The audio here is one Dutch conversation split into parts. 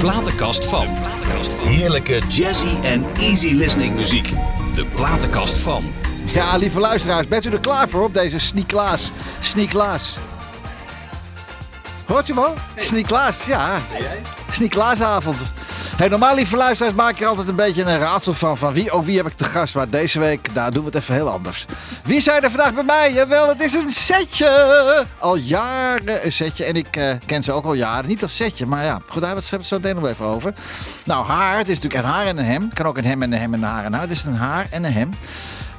platenkast van. Heerlijke jazzy en easy listening muziek. De platenkast van. Ja, lieve luisteraars, bent u er klaar voor op deze Sneeklaas? Sneeklaas. Hoort je wel? Sneeklaas, ja. Sneeklaasavond. Hey, normaal, lieve luisteraars, maak ik er altijd een beetje een raadsel van. Van wie, oh, wie heb ik te gast? Maar deze week, daar doen we het even heel anders. Wie zijn er vandaag bij mij? Jawel, het is een setje. Al jaren een setje. En ik eh, ken ze ook al jaren. Niet als setje, maar ja. Goed, daar hebben we het zo meteen nog wel even over. Nou, haar. Het is natuurlijk een haar en een hem. Het kan ook een hem en een hem en een haar en een haar. Het is een haar en een hem.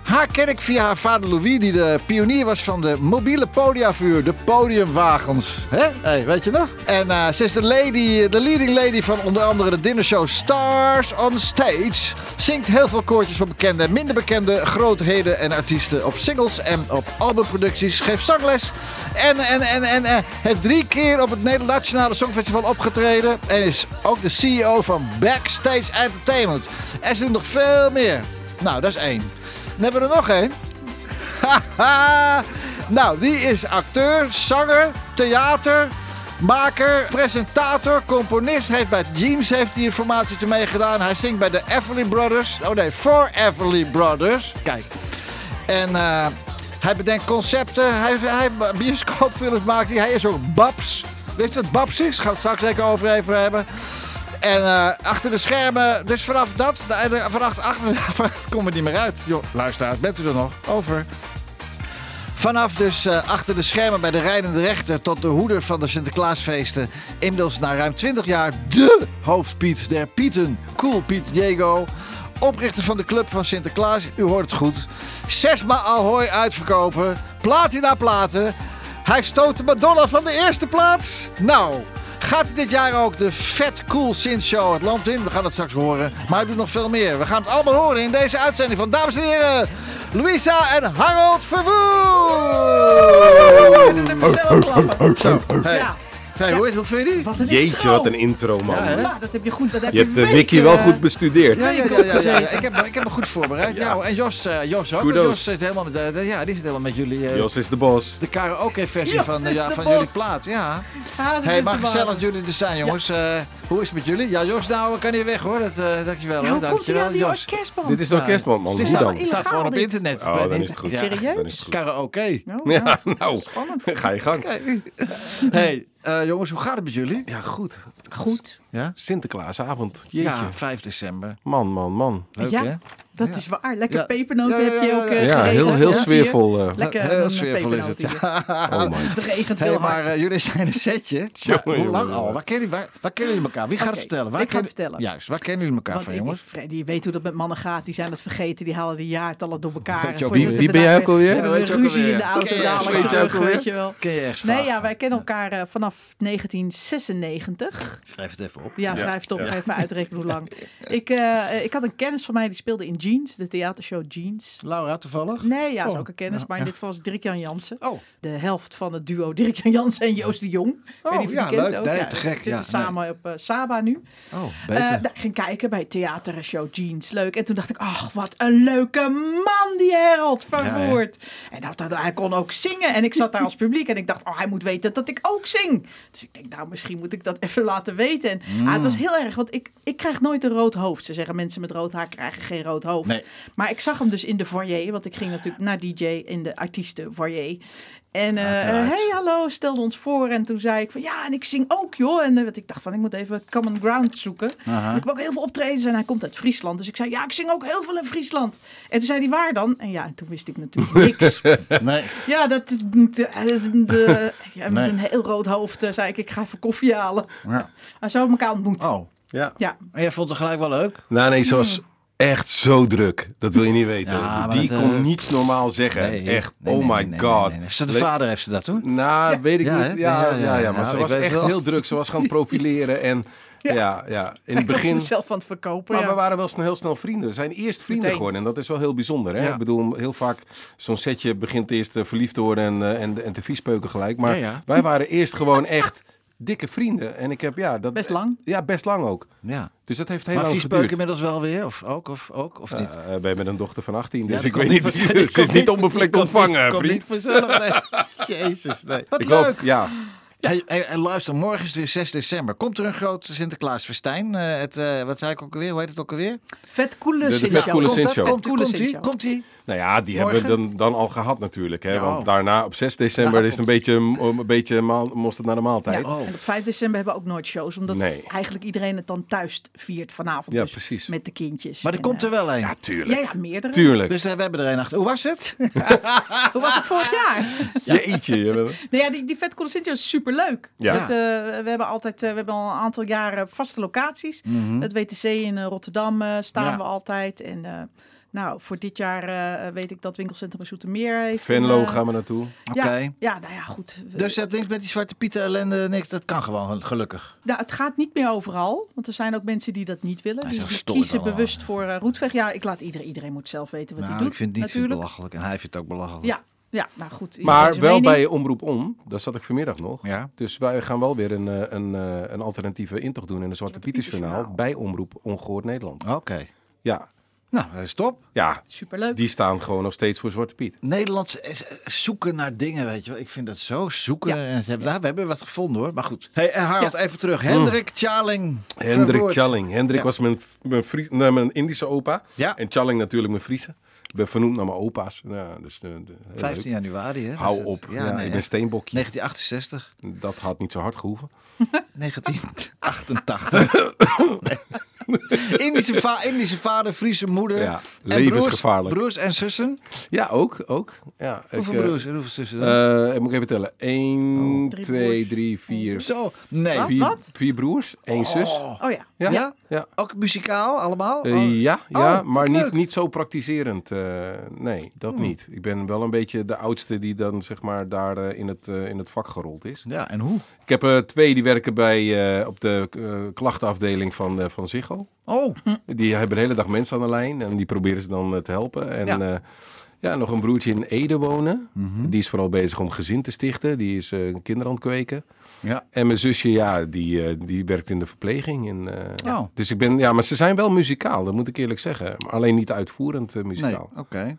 Haar ken ik via haar vader Louis, die de pionier was van de mobiele podiavuur, de podiumwagens. Hè? Hey, weet je nog? En eh, ze is de, lady, de leading lady van onder andere de dinnershow Stars on Stage. Zingt heel veel koortjes voor bekende en minder bekende grootheden en artiesten op singles en op albumproducties. Geeft zangles en, en, en, en eh, heeft drie keer op het Nederlandse Nationale Songfestival opgetreden. En is ook de CEO van Backstage Entertainment. En ze doen nog veel meer. Nou, dat is één. Dan hebben we er nog één. Haha. nou, die is acteur, zanger, theater, maker, presentator, componist. Heeft bij Jeans heeft die informatie te meegedaan. Hij zingt bij de Everly Brothers. Oh nee, voor Everly Brothers. Kijk. En eh, hij bedenkt concepten. Hij, hij bioscoopfilms maakt hij. Hij is ook Babs. Weet je wat Babs is? Gaan we het straks zeker over even hebben. En eh, achter de schermen, dus vanaf dat, eh, vanaf achter, kom er niet meer uit. Joh, luisteraars, bent u er nog? Over. Vanaf dus eh, achter de schermen bij de rijdende rechter tot de hoeder van de Sinterklaasfeesten. Inmiddels na ruim 20 jaar de hoofdpiet der Pieten. Cool Piet Diego. Oprichter van de Club van Sinterklaas. U hoort het goed. Zesmaal Ahoy uitverkopen. Platina platen. Hij stoot de Madonna van de eerste plaats. Nou, gaat hij dit jaar ook de Vet Cool Sint Show het land in. We gaan het straks horen. Maar hij doet nog veel meer. We gaan het allemaal horen in deze uitzending van Dames en Heren... Louisa en Harold Verwoerd! Zo, hey. Ja. Hey, hoe, is, hoe vind je die? Wat een Jeetje, intro. wat een intro, man. Ja, hè? Ja, dat heb je goed. Dat heb Je hebt de weken, wiki wel eh, goed bestudeerd. Ja, ja, ja, ja, ja, ja. Ik, heb, ik heb me goed voorbereid. Ja. Ja. hoor. en Jos, eh, Jos ook. Kudos. Jos zit helemaal met, de- de- ja, die zit helemaal met jullie. eh, Jos is de bos. De karaoke-versie Jos van, eh, is ja, de van boss. jullie plaat. Ja. Hazes Hey, is dus maar de basis. gezellig dat jullie er zijn, jongens. Eh, hoe is het met jullie? Ja, Jos, nou kan hier weg hoor. Dat, eh dankjewel. Ja, hoor. hoe komt hij dankjewel, aan die Jos. orkestband? Dit is de orkestband, man. Het is Hoe nou, dan? illegaal staat gewoon op dit. internet. Ik Oh, weet dan niet. is het goed. Ja. Serieus? Dan is het goed. Karaoke. Oh, Ja, nou, Spannend. ga je gang. Oké. hey, eh, jongens, hoe gaat het met jullie? Ja, goed. Goed. Ja? Sinterklaasavond. Jeetje. Ja, 5 december. Man, man, man. Leuk, ja, hè? dat is waar. Lekker Ja. pepernoten Ja, ja, heb je ja, ook ja. eh, Ja, geregeld, heel, heel zie je. sfeervol. eh, Lekker Heel een sfeervol is het. pepernoot hier. Nou, oh my. Het regent Hey, nou heel maar hard. eh, jullie zijn een setje. Maar hoe jongen, lang jongen. al? Waar kennen, waar, waar kennen jullie elkaar? Wie gaat Oké, het vertellen? Waar ik ga het kennen- vertellen. Juist, waar kennen jullie elkaar Want van, ik- jongens? Freddy, je weet hoe dat met mannen gaat. Die zijn dat vergeten. Die halen de jaartallen door elkaar. Weet je ook Voor je wie- het wie ben bedacht jij ook alweer? hebt, Weet hebben je we ook ruzie in alweer? de auto Ken je- dadelijk weet je terug, ook alweer? weet je wel. Ken je echt Nee, vaak? ja, wij kennen elkaar eh, vanaf 1996. Schrijf het even op. Ja, schrijf het op. ga Even uitrekenen hoe lang. Ik, eh, ik had een kennis van mij die speelde in Jeans, de theatershow Jeans. Laura, toevallig? Nee, ja, is Oh, ook een kennis. ja, maar in ja. dit geval is Dirk-Jan Jansen. Oh. De helft van het duo Dirk-Jan Jansen en Joost de Jong. Ik Oh, weet niet of je ja, die kent leuk. ook. Nee, Ja, te gek, we Zitten ja, nee. samen op eh, Saba nu. Oh, Eh, beter. daar ging kijken bij theatershow Jeans. Leuk. En toen dacht ik, ach, wat een leuke man die Harold verwoord. En dat, dat, hij kon ook zingen. En ik zat daar als publiek en ik dacht, oh, hij moet weten dat ik ook zing. Dus ik denk, nou, misschien moet ik dat even laten weten. En ah, het Mm. was heel erg, want ik, ik krijg nooit een rood hoofd. Ze zeggen, mensen met rood haar krijgen geen rood hoofd. Nee. Maar ik zag hem dus in de foyer, want ik ging natuurlijk naar DJ in de artiesten foyer. En eh, Uiteraard. hey, hallo, stelde ons voor. En toen zei ik van, ja, en ik zing ook, joh. En eh, want ik dacht van, ik moet even common ground zoeken. Ik heb ook heel veel optredens en hij komt uit Friesland. Dus ik zei, ja, ik zing ook heel veel in Friesland. En toen zei hij, waar dan? En ja, en toen wist ik natuurlijk niks. nee. ja, dat is... de- de- de- ja, met Nee. een heel rood hoofd eh, zei ik, ik ga even koffie halen. Ja. Maar zo hebben we elkaar ontmoet. Oh, Ja. Ja, en jij vond het gelijk wel leuk? Nou, nee, ze was echt zo druk. Dat wil je niet weten. Hmm. Ja, maar Die dat, kon eh, niets normaal zeggen. Nee, echt. nee, oh nee, my nee, nee, god. nee, nee. Ze- De Le- vader heeft ze dat toen. Nou, weet ik Ja, hè? niet. Ja, Ja, ja, ja, ja, ja. maar Nou, ze ik was weet echt wel. heel druk. Ze was gaan profileren en ja, ja. In het ik was begin... mezelf aan het verkopen. Maar ja. we waren wel snel, heel snel vrienden. We zijn eerst vrienden Meteen. geworden. En dat is wel heel bijzonder. Hè? Ja. Ik bedoel, heel vaak zo'n setje begint eerst eh, verliefd te worden en, eh, en, en te viespeuken gelijk. Maar Ja, ja. wij waren eerst gewoon echt dikke vrienden. En ik heb, ja... Dat, Best lang. Ja, best lang ook. Ja. Dus dat heeft heel Maar lang viespeuken geduurd. inmiddels wel weer? Of ook? Of, ook, of niet? Ja, eh, wij met een dochter van 18, dus dat ik komt weet niet. niet Ze is niet onbevlekt ontvangen, Kom vriend. niet vanzelf. Nee. Jezus, nee. Wat Ik leuk. geloof- ja. Hey, hey, en luister, morgen is het weer 6 december. Komt er een groot Sinterklaas festijn? Eh, het, eh, wat zei ik ook alweer? Hoe heet het ook alweer? Vet coole De- de Sint-Joop. vet coole Komt dat? Sint-Joop. Komt die? Coole Komt die? Sint-Joop. Komt die? Nou ja, die Morgen? hebben we dan, dan al gehad natuurlijk. Hè? Ja. oh. Want daarna op 6 december Ja, oh. is het een beetje, een, een beetje maal- mosterd naar de maaltijd. Ja, en op 5 december hebben we ook nooit shows. Omdat Nee. eigenlijk iedereen het dan thuis viert vanavond. Ja, dus precies. Met de kindjes. Maar er En, komt er eh, wel een. Ja, tuurlijk. Ja, ja, meerdere. Tuurlijk. dus eh, we hebben er een achter. Hoe was het? Hoe was het vorig jaar? Jeetje. je bent- Nee, ja, die, die Vet Cool Sint-Joop is superleuk. Ja. Dat, eh, we hebben altijd, eh, we hebben al een aantal jaren vaste locaties. Het WTC in eh, Rotterdam eh, staan Ja. we altijd. En eh, nou, voor dit jaar eh, weet ik dat winkelcentrum in Zoetermeer heeft. Venlo een, eh, gaan we naartoe. Oké. Ja, ja, nou ja, goed. We- Dus je hebt niks met die zwarte pieten ellende, niks. Dat kan gewoon, gelukkig. Nou, het gaat niet meer overal, want er zijn ook mensen die dat niet willen. is Die, echt die stoer kiezen allemaal. bewust voor eh, roetweg. Ja, ik laat iedereen, iedereen moet zelf weten wat nou, hij doet. ik vind het niet natuurlijk. belachelijk. En hij vindt het ook belachelijk. Ja, ja, nou goed. iedereen Maar zijn wel mening. bij Omroep Om, daar zat ik vanmiddag nog. Ja. Dus wij gaan wel weer een, eh, een, eh, een alternatieve intocht doen in de Zwarte Pietersjournaal bij Omroep Ongehoord Nederland. Oké. Ja, Nou, dat is top. ja, Superleuk. die staan gewoon nog steeds voor Zwarte Piet. Nederland is- eh, zoeken naar dingen, weet je wel. Ik vind dat zo zoeken. En ze hebben, nou, we hebben wat gevonden hoor. Maar goed. Oh. Hey, en Harald, even terug. Hendrik Chaling. Hendrik verwoord. Challing. Hendrik Ja. was mijn, mijn, Fries- nee, mijn Indische opa. Ja. En Challing natuurlijk mijn Friese. Ik ben vernoemd naar mijn opa's. Ja, dus, eh, heel leuk. 15 januari, hè? was Hou het. op. Ja, Ja, nee, ik hè. ben steenbokje. 1968. Dat had niet zo hard gehoeven. 1988. Nee. Indische, va- Indische vader, Friese moeder. Ja, En broers, levensgevaarlijk. broers en zussen. Ja, ook. ook. Ja, ik, Hoeveel eh, broers en hoeveel zussen? dan? eh, moet ik even tellen. 1, Drie 2, broers. 3, 4, Zo, nee. Wat? Vier, vier broers, één zus. Oh ja. Ja, Ja? ja. Ook muzikaal allemaal? Eh, Oh, ja, ja, wat maar leuk. Oh. niet, niet zo praktiserend. eh, nee, dat niet. Ik ben wel een beetje de oudste die dan zeg maar daar eh, in, het, eh, in het vak gerold is. Ja, en hoe? Ik heb er twee die werken bij, eh, op de eh, klachtenafdeling van, eh, van Ziggo. Oh, Die hebben de hele dag mensen aan de lijn en die proberen ze dan eh, te helpen. En Ja. Mhm. ja. ja, nog een broertje in Ede wonen. Die is vooral bezig om gezin te stichten. Die is eh kinderen aan het kweken. ja. En mijn zusje, ja, die, eh, die werkt in de verpleging. En, eh, Oh. Dus ik ben, ja, maar ze zijn wel muzikaal, dat moet ik eerlijk zeggen. Maar alleen niet uitvoerend eh, Nee, muzikaal. oké.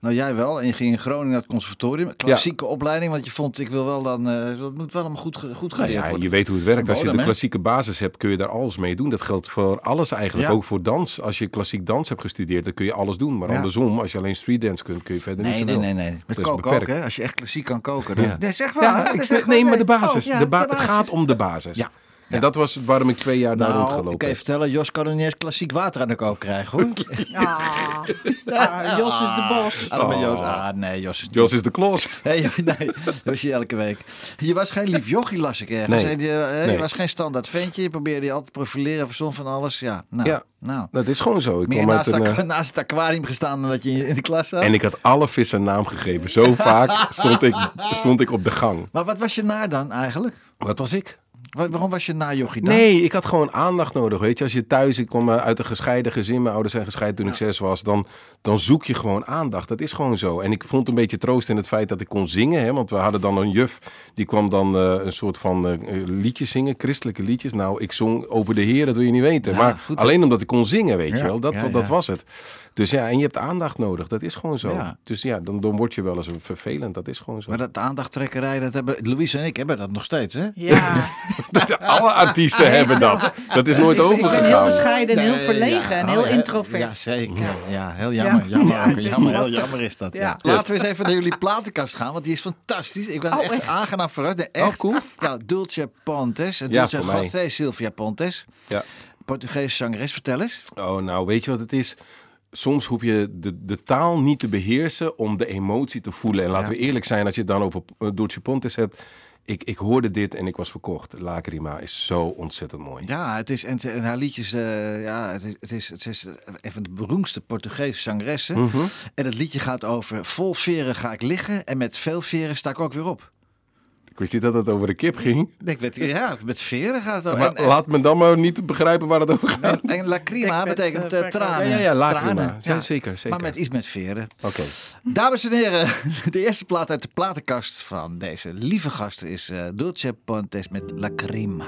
Nou, jij wel. En je ging in Groningen naar het conservatorium. Klassieke opleiding, want je vond, ik wil wel dan... eh, dat moet wel allemaal goed, ge- goed Nou geleerd ja, je worden. weet hoe het werkt. Als je Bodem, de hè? klassieke basis hebt, kun je daar alles mee doen. Dat geldt voor alles eigenlijk, Ja. ook voor dans. Als je klassiek dans hebt gestudeerd, dan kun je alles doen. Maar Ja. andersom, als je alleen streetdance kunt, kun je verder Nee, niet nee, zoveel. nee, nee. Met Dat is koken ook, beperkt. hè. Als je echt klassiek kan koken. Dan... Ja. Nee, zeg wel. Ja, ik snap- nee, maar Oh, de basis. de ba- Het gaat om de basis. Ja. En dat was waarom ik twee jaar daar Nou, rondgelopen ik kan je heb. vertellen, Jos kan niet eens klassiek water aan de kook krijgen, hoor. Ah, ah, Jos is de bos. Ah, dan ben Jos. Ah, nee, Jos is Oh. Jos is de klos. Hey, nee, dat was je elke week. Je was geen lief jochie, las ik ergens. Nee. En Je, eh, je Nee. was geen standaard ventje. Je probeerde je altijd te profileren, verzon van alles. Ja, nou. Ja. nou. Dat is gewoon zo. Ik Meer kwam uit naast, een, het eh, aqua- naast het aquarium gestaan dan dat je in de klas zat. En ik had alle vissen een naam gegeven. Zo vaak stond ik, stond ik op de gang. Maar wat was je naar dan eigenlijk? Wat was ik? Wa- waarom was je naar jochie dan? Nee, ik had gewoon aandacht nodig. Weet je, als je thuis, ik kwam eh, uit een gescheiden gezin, mijn ouders zijn gescheiden toen ik zes was, dan, dan zoek je gewoon aandacht. Dat is gewoon zo. En ik vond een beetje troost in het feit dat ik kon zingen, hè, want we hadden dan een juf, die kwam dan eh, een soort van eh, eh, liedjes zingen, christelijke liedjes. Nou, ik zong over de Heer, dat wil je niet weten. Ja, maar goed. alleen omdat ik kon zingen, weet Ja, je wel, dat, ja, dat ja. was het. Dus ja, en je hebt aandacht nodig, dat is gewoon zo. Ja. Dus ja, dan, dan word je wel eens vervelend, dat is gewoon zo. Maar dat aandachttrekkerij, dat hebben Louise en ik hebben dat nog steeds, hè? Ja, Alle artiesten hebben dat. Dat is nooit ik ben heel overgegaan. bescheiden en heel Nee, verlegen ja. en heel Oh, ja, introvert. Ja, zeker. Ja, Mm. heel jammer. Ja. Jammer, Ja, ook. het is jammer, heel lastig. jammer is dat. Ja. Ja. Laten we eens even naar jullie platenkast gaan, want die is fantastisch. Ik ben Oh, echt, echt? aangenaam verrast. Nee, echt. Oh, cool. Ja, Dulce Pontes. Ja, Dulce voor mij. José Silvia Pontes. Ja. Portugese zangeres, vertel eens. Oh, nou, weet je wat het is? Soms hoef je de, de taal niet te beheersen om de emotie te voelen. En laten we eerlijk zijn, als je het dan over eh, Dolce Pontes hebt. Ik, ik hoorde dit en ik was verkocht. Lacrima is zo ontzettend mooi. Ja, het is, en, ze- en haar liedjes, eh, ja, het is, het is, het is eh, een van de beroemdste Portugese zangeressen. Mhm. En het liedje gaat over vol veren ga ik liggen en met veel veren sta ik ook weer op. Ik wist niet dat het over de kip ging. Ik weet, ja, met veren gaat het over. Maar en, eh, en- laat me dan maar niet begrijpen waar het over gaat. En, en lacrima Dekbed, betekent eh, eh, vrek- tranen. Ja, ja, ja, lacrima. Tranen, Ja, zeker, zeker. Maar met iets met veren. Oké. Dames en heren, de eerste plaat uit de platenkast van deze lieve gast is eh, Dulce Pontes met Lacrima.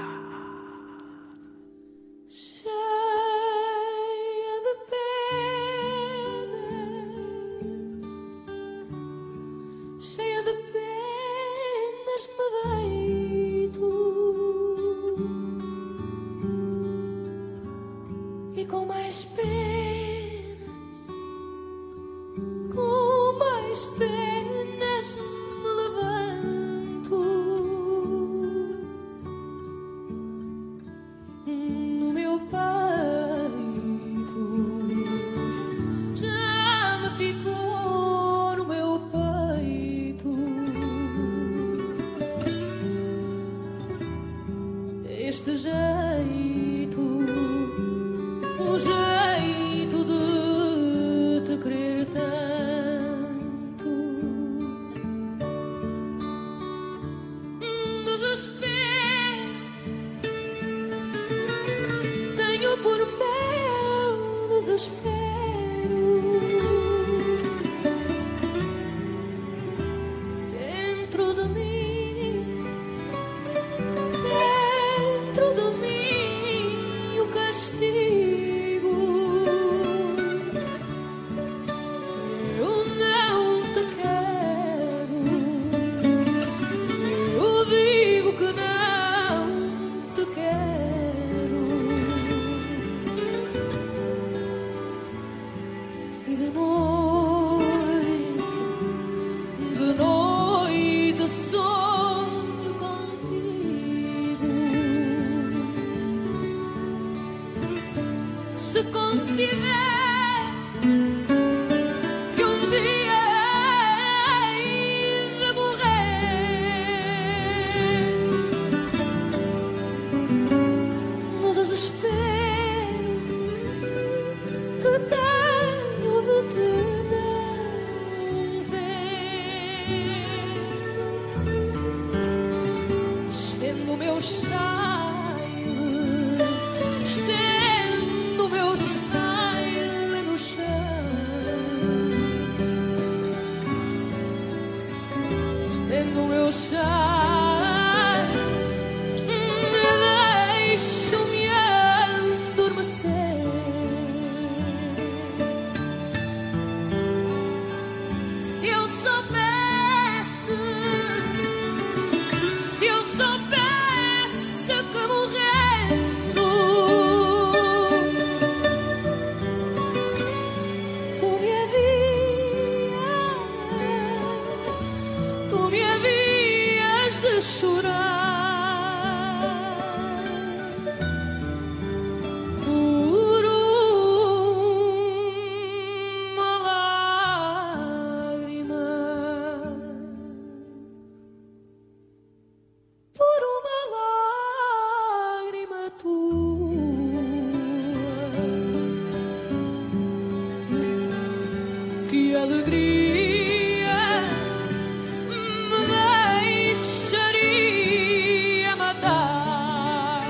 Cheia de penas, cheia de penas me deito mis penas me levanto no meu peito já me ficou no meu peito este jeito, o jeito de te querer tanto. Desespero, tenho por meu desespero dentro de mim dentro de mim o castigo. Eu não te quero. Eu digo que não te quero. E de noite de noite sonho contigo. Se considero que um dia hei de morrer no desespero que tenho de te não ver. Estendo o meu chile, estendo o meu chile no chão. Estendo o meu chile me deixo-me adormecer. Se eu soubesse, se eu soubesse que morrendo tu me havias tu me havias de chorar por uma lágrima, por uma lágrima tua. que alegria me deixaria matar.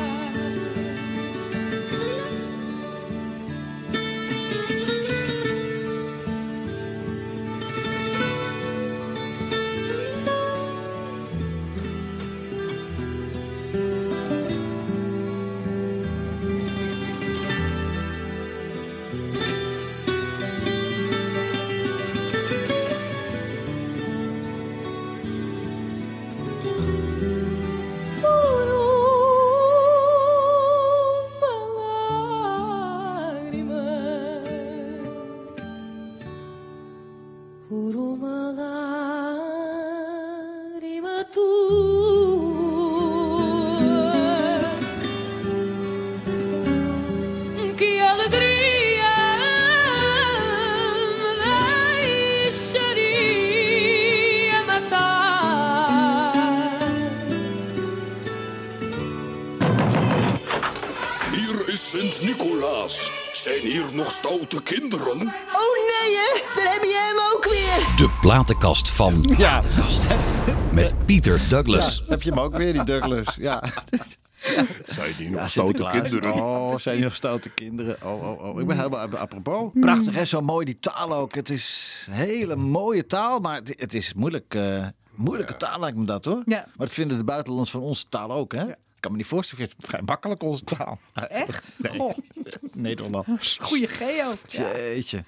Por uma lágrima. por uma lágrima tua. Que alegria me deixaria matar. Hier is Sint-Nicolaas. Zijn hier nog stoute kinderen? Oh nee, hè? Daar heb je hem ook weer. De platenkast van. Ja. Met Pieter Douglas. Heb je hem ook weer, die Douglas? Ja. Zijn die nog stoute Ah, Sinterklaas. kinderen? Oh, zijn die nog stoute kinderen? Oh, oh, oh. Ik ben helemaal ap- apropos. Hmm. Prachtig, hè? Zo mooi die taal ook. Het is een hele mooie taal, maar het, het is moeilijk. eh, moeilijke taal lijkt me dat, hoor. Ja. Maar dat vinden de buitenlanders van onze taal ook, hè? Ik kan me niet voorstellen, het is vrij makkelijk onze taal. Echt? Nee. Goh, Nederlands. goeie geo. Ja. Jeetje.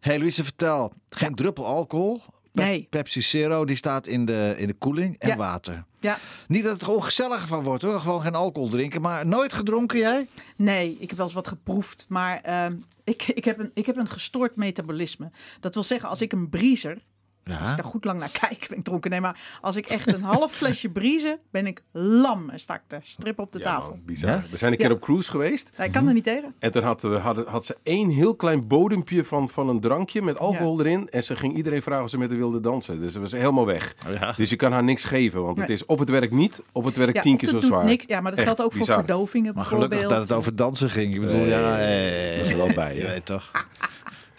hey, Louise, vertel. Geen druppel alcohol. Pe- Nee. Pepsi Zero, die staat in de, in de koeling. En Ja. water. ja. Niet dat het er ongezellig van wordt, hoor. Gewoon geen alcohol drinken. Maar nooit gedronken, jij? Nee, ik heb wel eens wat geproefd, maar ehm, ik, ik, heb een, ik heb een gestoord metabolisme. Dat wil zeggen, als ik een briezer, Als ik daar goed lang naar kijk, ben ik dronken. Nee, maar als ik echt een half flesje briezen, ben ik lam. En sta ik de strip op de Ja, tafel. man, bizar. Ja? We zijn een keer Ja. op cruise geweest. Nou, ik kan er niet tegen. En toen had, eh, had, had ze één heel klein bodempje van, van een drankje met alcohol erin. En ze ging iedereen vragen of ze met haar wilde dansen. Dus ze was helemaal weg. Oh, Dus je kan haar niks geven. Want het Nee. is of het werkt niet, of het werkt Ja, tien of keer het zo doet zwaar. niks. Ja, maar dat Echt geldt ook voor bizar. verdovingen Maar bijvoorbeeld. gelukkig dat het over dansen ging. Ik bedoel, ja... eh, Dat is er wel bij, je hè? weet toch.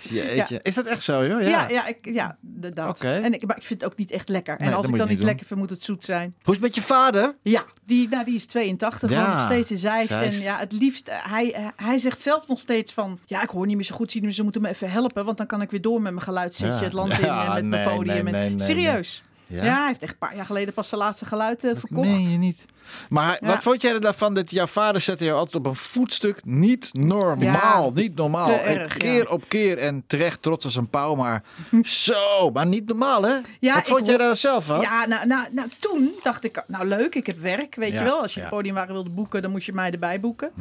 Jeetje. Ja. Is dat echt zo, joh? Ja, ja, ik, ja de- dat. Oké. En ik, maar ik vind het ook niet echt lekker. Nee, en dat als ik moet je dan niet iets doen. lekker vind, moet het zoet zijn. Hoe is het met je vader? Ja, die, nou, die is 82, Ja, woont nog steeds in Zeist. Zeist. En ja, het liefst, eh, hij, eh, hij zegt zelf nog steeds van... Ja, ik hoor niet meer zo goed, zien dus ze moeten me even helpen. Want dan kan ik weer door met mijn geluidszitje Ja. het land in Ja, en met mijn nee, podium. nee, en, nee, nee, serieus. nee. Ja? Ja? hij heeft echt een paar jaar geleden pas zijn laatste geluid eh, verkocht. Nee, je niet. Maar Ja. wat vond jij er daarvan dat jouw vader zette jou altijd op een voetstuk? Niet normaal, Ja, niet normaal. te En erg, keer ja. op keer en terecht trots als een pauw, maar zo, maar niet normaal hè? Ja, wat ik vond jij hoor- daar zelf van? Ja, nou, nou, nou, toen dacht ik, nou leuk, ik heb werk, weet Ja, je wel. Als je ja. Mhm. het podium waren wilde boeken, dan moest je mij erbij boeken.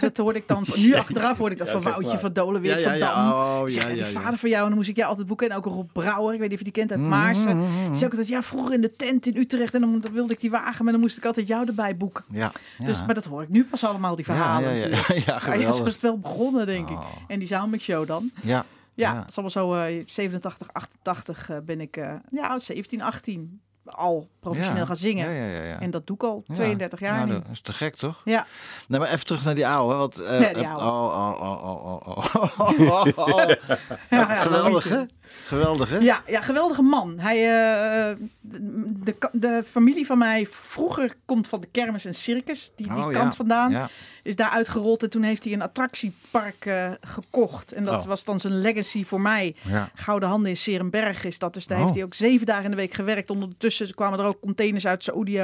Dat hoorde ik dan, van, nu achteraf hoorde ik dat van Woutje van Dolenweert Ja, ja, van ja. Dam. Oh, Ik zeg, ja, die ja, ja. Mhm, vader van jou, en dan moest ik jou altijd boeken. En ook Rob Brouwer, ik weet niet of je die kent, uit Maarsen. Die zei ook altijd, ja, vroeger in de tent in Utrecht. En dan wilde ik die wagen, maar dan moest ik altijd jou erbij boeken. Ja, Dus, ja. maar dat hoor ik nu pas allemaal, die Ja, verhalen ja, ja, natuurlijk. ja, Maar zo geweldig. Oh. is het wel begonnen, denk ik. En die Zaalmix Show dan. Ja. Ja, Ja. het is allemaal zo eh, 87, 88 eh, ben ik, eh, ja, 17, 18 al professioneel Ja. gaan zingen. Ja, ja, ja, ja. En dat doe ik al Ja. 32 jaar Nou, nu. Dat is te gek toch? Ja, Nee, maar even terug naar die oude. Want, eh, Nee, die oude. Oh, oh, oh, oh, oh, oh. oh. Ah ja, ja, Geweldig Lonnetje. hè? Geweldig hè? Ja, ja, geweldige man. Hij, eh, de, de, ka- de familie van mij vroeger komt van de kermis en circus, die, die Oh, ja. kant vandaan. Ja. Is daar uitgerold en toen heeft hij een attractiepark eh, gekocht. En dat Oh. was dan zijn legacy voor mij. Ja. Gouden Handen in Serenberg is dat. Dus daar Oh. heeft hij ook zeven dagen in de week gewerkt. Ondertussen kwamen er ook containers uit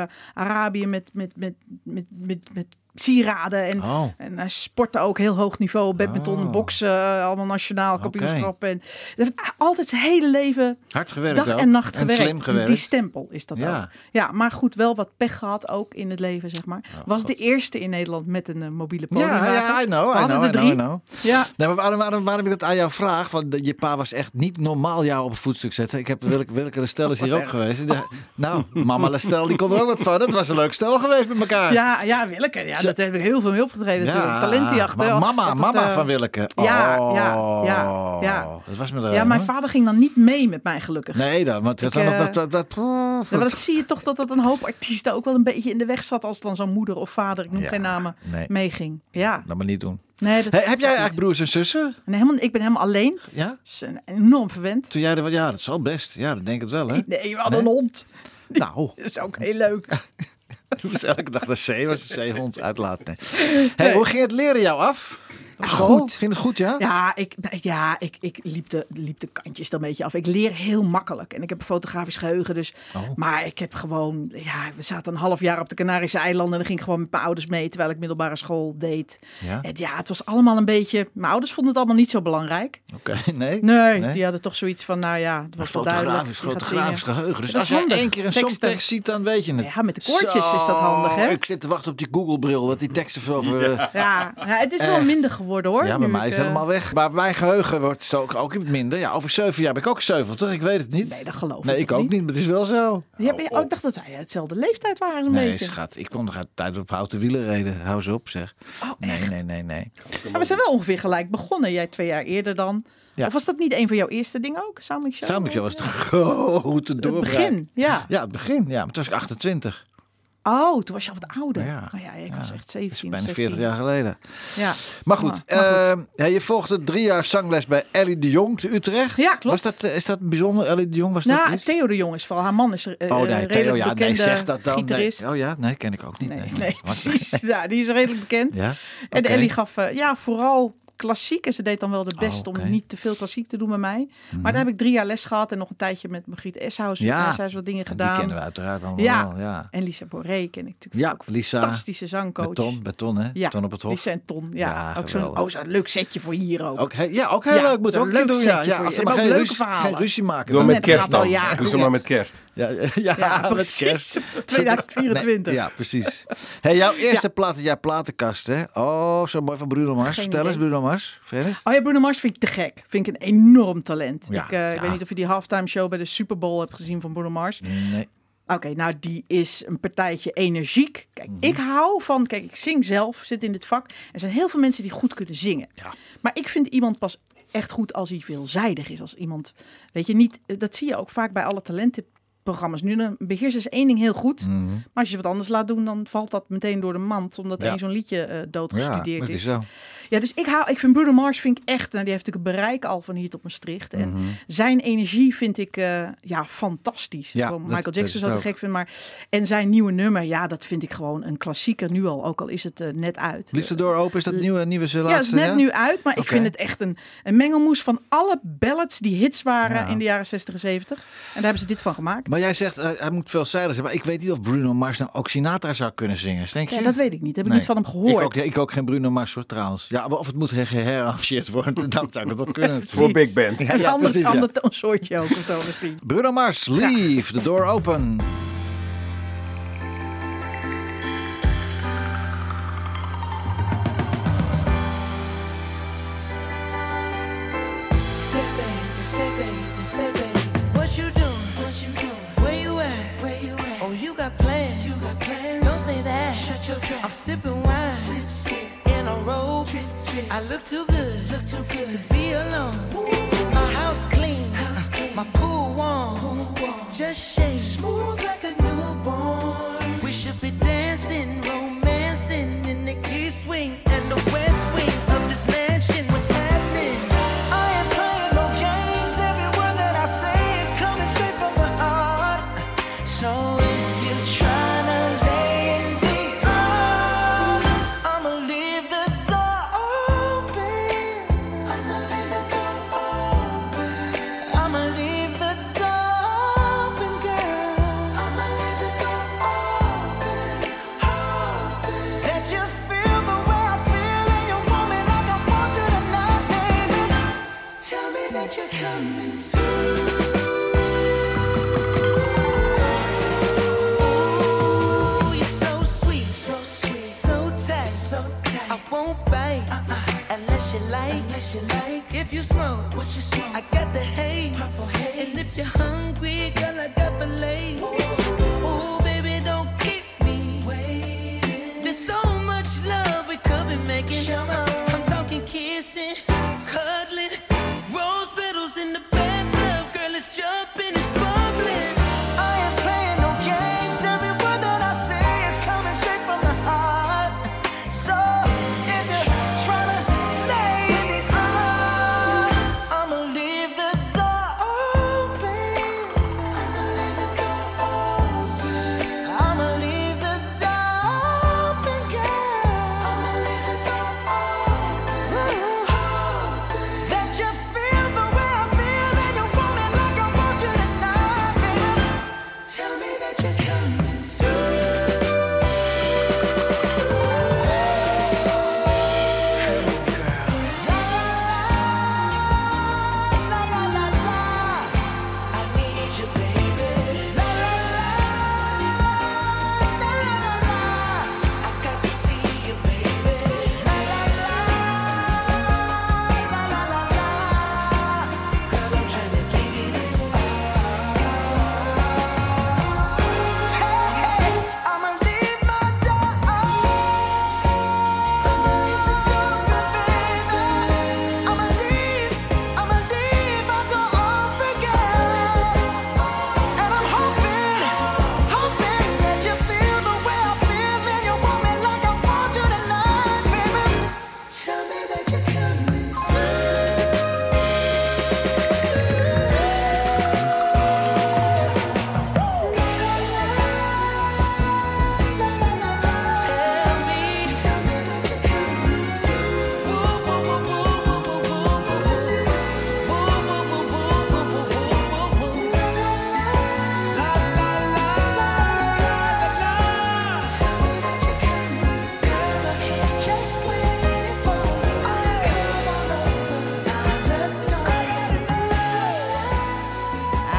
Saoedi-Arabië met, met, met, met, met, met sieraden. En, Oh. en hij sportte ook heel hoog niveau. Badminton, Oh. boksen, allemaal nationaal kampioenschap. En hij heeft altijd zijn hele leven Hard gewerkt dag ook. en nacht gewerkt. slim gewerkt. Die stempel is dat Ja. ook. Ja, maar goed, wel wat pech gehad ook in het leven, zeg maar. Was de eerste in Nederland met een eh, mobiele podiumwagen. ja, ja, I know, We I hadden know, I er know, I drie. know. Ja, Nee, maar waarom, waarom, waarom ik dat aan jou vraag? Want de- je pa was echt niet normaal jou op het voetstuk zetten. Ik heb welke, welke stel is hier ook geweest. En die- nou, mama Lestel, die kon er ook wat van. Dat was een leuk stel geweest met elkaar. ja, ja, Willeke. Ja, Ze- dat heb ik heel veel mee opgetreden natuurlijk. Talentenjacht. maar hè, mama, dat het, mama eh, van Willeke. ja, Oh. ja, ja, ja. Dat was me er Ja, een, mijn hoor. vader ging dan niet mee met mij, gelukkig. Nee, dat, want dat, Ik, eh, dat, dat, dat, Ja, maar dat zie je toch dat dat een hoop artiesten ook wel een beetje in de weg zat als dan zo'n moeder of vader, ik noem Ja, geen namen, nee. meeging. Ja, laat me niet doen. nee, dat Hey, is heb jij dat eigenlijk niet. broers en zussen? Nee, helemaal, ik ben helemaal alleen. Ja? Dat is een- enorm verwend. Toen jij er was, ja, dat zal best. Ja, dat denk ik wel, hè? Nee, we hadden een hond. Nou, Dat is ook heel leuk. toen was elke dag de zee, was een zeehond uitlaat. Nee. Hey, hoe ging het leren jou af? Op school? Ah, goed. Ging het goed, ja? Ja, ik, ja, ik, ik liep, de, liep de kantjes dan een beetje af. Ik leer heel makkelijk. En ik heb een fotografisch geheugen. Dus, Oh. Maar ik heb gewoon... Ja, we zaten een half jaar op de Canarische eilanden. En dan ging ik gewoon met mijn ouders mee. Terwijl ik middelbare school deed. Ja. En ja, het was allemaal een beetje... Mijn ouders vonden het allemaal niet zo belangrijk. Oké, nee. Nee, Nee? die hadden toch zoiets van, nou ja, het was wel duidelijk. Fotografisch, die gaat fotografisch zingen. geheugen. Dus Dat als is je handig. één keer een Teksten. songtekst ziet, dan weet je het. Ja, met de koortjes is dat handig, hè? Ik zit te wachten op die Google-bril, dat die teksten voor over... Ja. Ja, ja, het is wel Echt. minder geworden hoor. bij nu mij ik, is het eh, helemaal weg. Maar mijn geheugen wordt zo ook, ook iets minder. Ja, over zeven jaar ben ik ook 70, ik weet het niet. Nee, dat geloof Nee, ik ik toch ook niet? niet, maar het is wel zo. Ja, maar ja, ik dacht dat wij hetzelfde leeftijd waren een nee, beetje. schat, ik kon nog uit de tijd op houten wielen reden. Hou ze op, zeg. Oh, nee, echt? nee, nee, nee. Maar we zijn wel ongeveer gelijk begonnen. Jij twee jaar eerder dan. Ja. Of was dat niet een van jouw eerste dingen ook? Zou ik zo? Samen was het grote Het doorbraak. begin, ja. Ja, het begin. Ja, maar toen was ik 28. Oh, toen was je al wat ouder. Ja. Oh ja, ik was echt Dat is 17 of bijna 16. 40 jaar geleden. Ja. Maar goed, Maar- Ah, maar ehm, ja, je volgde drie jaar zangles bij Ellie de Jong te Utrecht. Ja, Was klopt. dat, eh, is dat bijzonder, Ellie de Jong? Was dat Nou, iets? Theo de Jong is vooral. Haar man is eh, oh een nee, redelijk Theo, ja, bekende nee, zeg dat dan. gitarist. Nee. Oh ja, nee, ken ik ook niet. Nee, nee, Wat- precies. Ja, die is redelijk bekend. Ja? En Oké. Ellie gaf eh, ja, vooral klassiek. En ze deed dan wel de best Oh, oké. Mhm. om niet te veel klassiek te doen bij mij. Maar daar heb ik drie jaar les gehad. En nog een tijdje met Margriet Eshuis. Ja. Eshuis wat dingen En Die gedaan. kennen we uiteraard allemaal. Ja. wel, ja. En Lisa Boré ken ik natuurlijk Ja, ook. Lisa. Fantastische zangcoach. Met Ton, met Ton, hè? Ja, Ton op het hof. Lisa en Ton. Ja, Ja, ook zo'n geweldig. oh, zo'n leuk setje voor hier ook. Ook, he- ja, ook heel Ja, leuk. Moet zo'n ook een keer leuk doen. Ja, setje ja, voor als je. er maar En ook geen leuke ruzie, geen verhalen. ruzie maken. Doe dan. maar Nee, met het gaat kerst dan. al jaren Doe ze goed. maar met kerst. Ja, ja, Ja, met Ah, kerst. precies. 2024. Nee, ja, precies. Hey, jouw eerste Ja. platen, ja, platenkast, hè? Oh, zo mooi van Bruno Mars. Geen Vertel idee. eens, Bruno Mars. Verder? Oh ja, Bruno Mars vind ik te gek. Vind ik een enorm talent. Ja, ik, eh, ja. ik weet niet of je die halftime show bij de Super Bowl hebt gezien van Bruno Mars. Nee. Oké, nou die is een partijtje energiek. Kijk, Mhm. ik hou van, kijk, ik zing zelf, zit in dit vak. Er zijn heel veel mensen die goed kunnen zingen. Maar ik vind iemand pas echt goed als hij veelzijdig is. Als iemand, weet je, niet, dat zie je ook vaak bij alle talentenprogramma's. Nu dan beheersen ze één ding heel goed. Mhm. Maar als je wat anders laat doen, dan valt dat meteen door de mand. Omdat Ja. één zo'n liedje eh, Ja, doodgestudeerd dat is. is zo. Ja, dus ik, hou, ik vind Bruno Mars vind ik echt, nou, die heeft natuurlijk een bereik al van hier tot Maastricht. En Mhm. zijn energie vind ik eh, ja, fantastisch. Ja, Gewoon dat- Michael dat is Jackson het zo te ook. gek vind. Maar, en zijn nieuwe nummer, ja, dat vind ik gewoon een klassieker nu al. Ook al is het eh, net uit. Liefde door open is dat nieuwe, nieuwe ze ja, het is laatste, net ja? nu uit, maar ik Oké. vind het echt een, een mengelmoes van alle ballads die hits waren Ja. in de jaren 60 en 70. En daar hebben ze dit van gemaakt. Maar jij zegt, eh, hij moet veelzijdig zijn. Maar ik weet niet of Bruno Mars nou ook Sinatra zou kunnen zingen. Denk je? ja, dat weet ik niet. Heb Nee. ik niet van hem gehoord. Ik ook, ik ook geen Bruno Mars hoor, trouwens. Ja, maar of het moet her- geherarrangeerd worden, dan zou dat wel kunnen. Precies. Voor Big Band. Een Ja, ander, precies, ja. ander toonsoortje ook of zo misschien. Bruno Mars, leave the door open. Say baby, say baby, say baby, what you doing? What you doing? Where you at? Where you at? Oh, you got plans? You got plans? Don't say that. Shut your trap. I'm sipping wine. Sip, sip. In a robe. Trip, trip. I look too good. Look too good to be alone. My house clean. House clean. My pool warm. Pool warm. Just shake. Smooth like a newborn. We should be dancing, romancing in the east wing and the west wing of this mansion. What's happening? I am playing no games. Every word that I say is coming straight from my heart. So if you're trying to lay in these arms, I'ma leave the door open. I'ma leave the door open. I'ma leave the door open, girl. I'ma leave the door open, open. That you feel the way I feel and you want me like I want you tonight, baby. Tell me that you're coming through. uh-uh.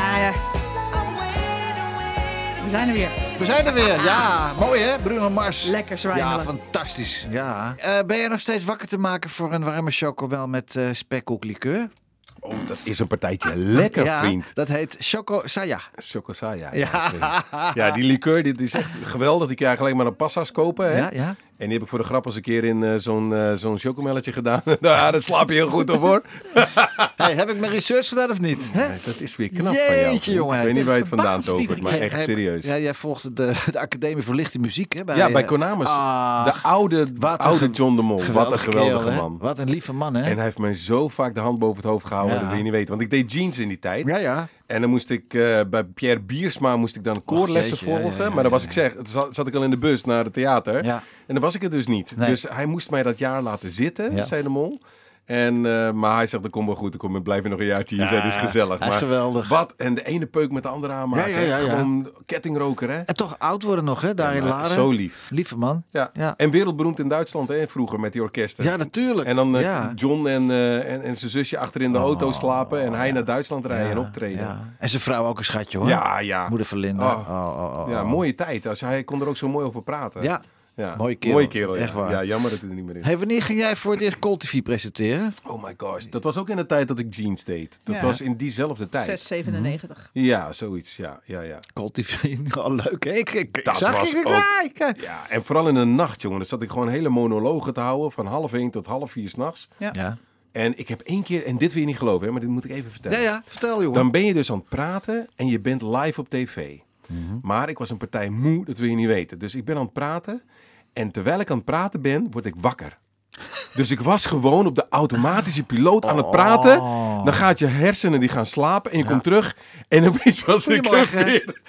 Ah, zijn er weer. We zijn er weer. Ja, mooi hè, Bruno Mars. Lekker Ja, zwijmelen. fantastisch. Ja. Eh, ben je nog steeds wakker te maken voor een warme chocomel met eh spekkoeklikeur? Oh, dat is een partijtje lekker, ja, vriend. dat heet Choco Saya. Chocosaya. Ja. Ja. zeker. ja, die liqueur, dit is echt geweldig. Die kan je alleen maar aan passa's kopen. Hè? Ja, ja. En die heb ik voor de grap eens een keer in eh, zo'n eh, zo'n chocomelletje gedaan. nou, daar slaap je heel goed op, hoor. Hey, heb ik mijn research gedaan of niet? Hè? Nee, dat is weer knap van jou. Jeetje, vriend. jongen. Ik weet niet waar je het vandaan Verbaasd tovert, maar iedereen. echt Hey, serieus. Ja, jij volgt de, de Academie voor Lichte Muziek, hè? Ja, bij eh, Konamis. ah, de oude, wat een oude ge- John de Mol. Wat een geweldige kerel, hè? man. Wat een lieve man, hè? En hij heeft mij zo vaak de hand boven het hoofd gehouden. Ja. Dat wil je niet weten. Want ik deed jeans in die tijd. Ja, ja. En dan moest ik eh, bij Pierre Biersma moest ik dan koorlessen jeetje, ja, volgen. ja, ja, maar dan was ik zeg, zat, zat ik al in de bus naar het theater. Ja. En dan was ik het dus niet. Nee. Dus hij moest mij dat jaar laten zitten, Ja. zei de mol. En, eh, maar hij zegt, dat komt wel goed. Dan kom, blijf je nog een jaartje hier. zijn, dat is gezellig. hij is maar geweldig. Wat? En de ene peuk met de andere aanmaken. Ja, ja, ja, ja. Gewoon kettingroker, hè? En toch oud worden nog, hè? Daar in maar Laren. zo lief. Lieve man. Ja. Ja, En wereldberoemd in Duitsland, hè? Vroeger met die orkesten. Ja, natuurlijk. En dan eh, ja. Oh. John en, eh, en, en zijn zusje achter in de auto slapen. En hij naar Duitsland rijden en optreden. Ja. En zijn vrouw ook een schatje, hoor. Ja, ja. Moeder van Linda. Oh. Oh, oh, oh, Ja, oh. mooie tijd. Als hij kon er ook zo mooi over praten. Ja. ja. Mooie kerel. ja. Echt waar. Ja, jammer dat hij er niet meer is. Hey, wanneer ging jij voor het eerst Cold TV presenteren? Oh my gosh. Dat was ook in de tijd dat ik jeans deed. Dat Ja. was in diezelfde tijd. 697. Ja, zoiets. Ja, ja, ja. Cold TV, al leuk hè? Ik, ik, ik Dat zag was je ook- kijken. Ja, en vooral in de nacht, jongen. Dan zat ik gewoon hele monologen te houden. Van half één tot half vier s'nachts. Ja. Ja. En ik heb één keer, en dit wil je niet geloven, hè, maar dit moet ik even vertellen. ja, ja, vertel jongen. Dan ben je dus aan het praten en je bent live op tv. Mhm. Maar ik was een partij moe, dat wil je niet weten. Dus ik ben aan het praten en terwijl ik aan het praten ben, word ik wakker. Dus ik was gewoon op de automatische piloot Oh. aan het praten. Dan gaat je hersenen die gaan slapen en je komt terug. En opeens was ik er Goedemorgen. weer.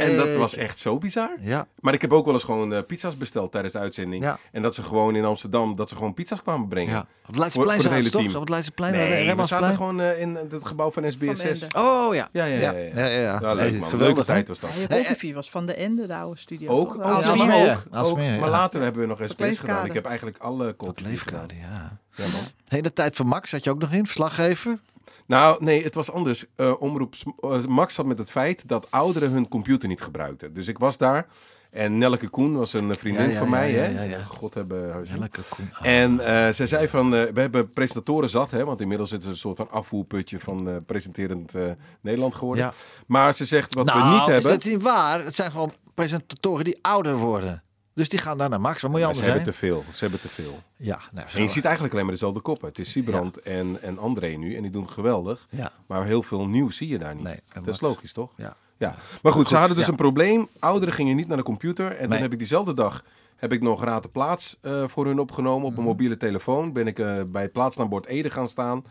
En dat Jeetje. was echt zo bizar. Ja. Maar ik heb ook wel eens gewoon eh, pizza's besteld tijdens de uitzending. Ja. En dat ze gewoon in Amsterdam, dat ze gewoon pizza's kwamen brengen. Ja. Op het Leidseplein Voor- voor het zaten ze hele toch? team. Op het Leidseplein? Nee, Rem- we zaten Rembrandtsplein? gewoon eh, in het gebouw van SBSS. Ende. Oh ja. Ja, ja, ja. ja, ja, ja, ja. leuk Hey, man. geweldig, Leuke tijd hè? was dat. Ja, Hey, Cold TV was van de Ende, de oude studio. Ook, toch? ook, Oude Eh, Oh, ja, ook, studio. Alsmeer, ook, Alsmeer, ook. ja. Maar later hebben we nog Kleefkade. SBS gedaan. Ik heb eigenlijk alle collecties gedaan. Leefkade, ja. Ja, man. Hele tijd van Max zat je ook nog in, verslaggever. Nou, nee, het was anders. Eh, omroep Sm- eh, Max had met het feit dat ouderen hun computer niet gebruikten. Dus ik was daar en Nelke Koen was een vriendin Ja, ja, van ja, mij. ja, ja, hè? ja. God hebben haar ziel. Lekker cool. En eh, zij zei van, eh, we hebben presentatoren zat, hè, want inmiddels is het een soort van afvoerputje van eh, presenterend eh, Nederland geworden. Ja. Maar ze zegt wat Nou, we niet is hebben. dat is niet waar. Het zijn gewoon presentatoren die ouder worden. Dus die gaan daar naar Max. Wat moet je Maar ze anders hebben zijn? te veel. Ze hebben te veel. Ja, nou, zo- En je ziet eigenlijk alleen maar dezelfde koppen. Het is Sibrand en, en André nu. En die doen het geweldig. Ja. Maar heel veel nieuws zie je daar niet. Nee, en dat wat- is logisch, toch? Ja. Maar goed, ze hadden dus ja. een probleem. Ouderen gingen niet naar de computer. En Nee. dan heb ik diezelfde dag heb ik nog Raad de Plaats eh, voor hun opgenomen. Mhm. Op een mobiele telefoon ben ik eh, bij het plaatsnaambord Ede gaan staan.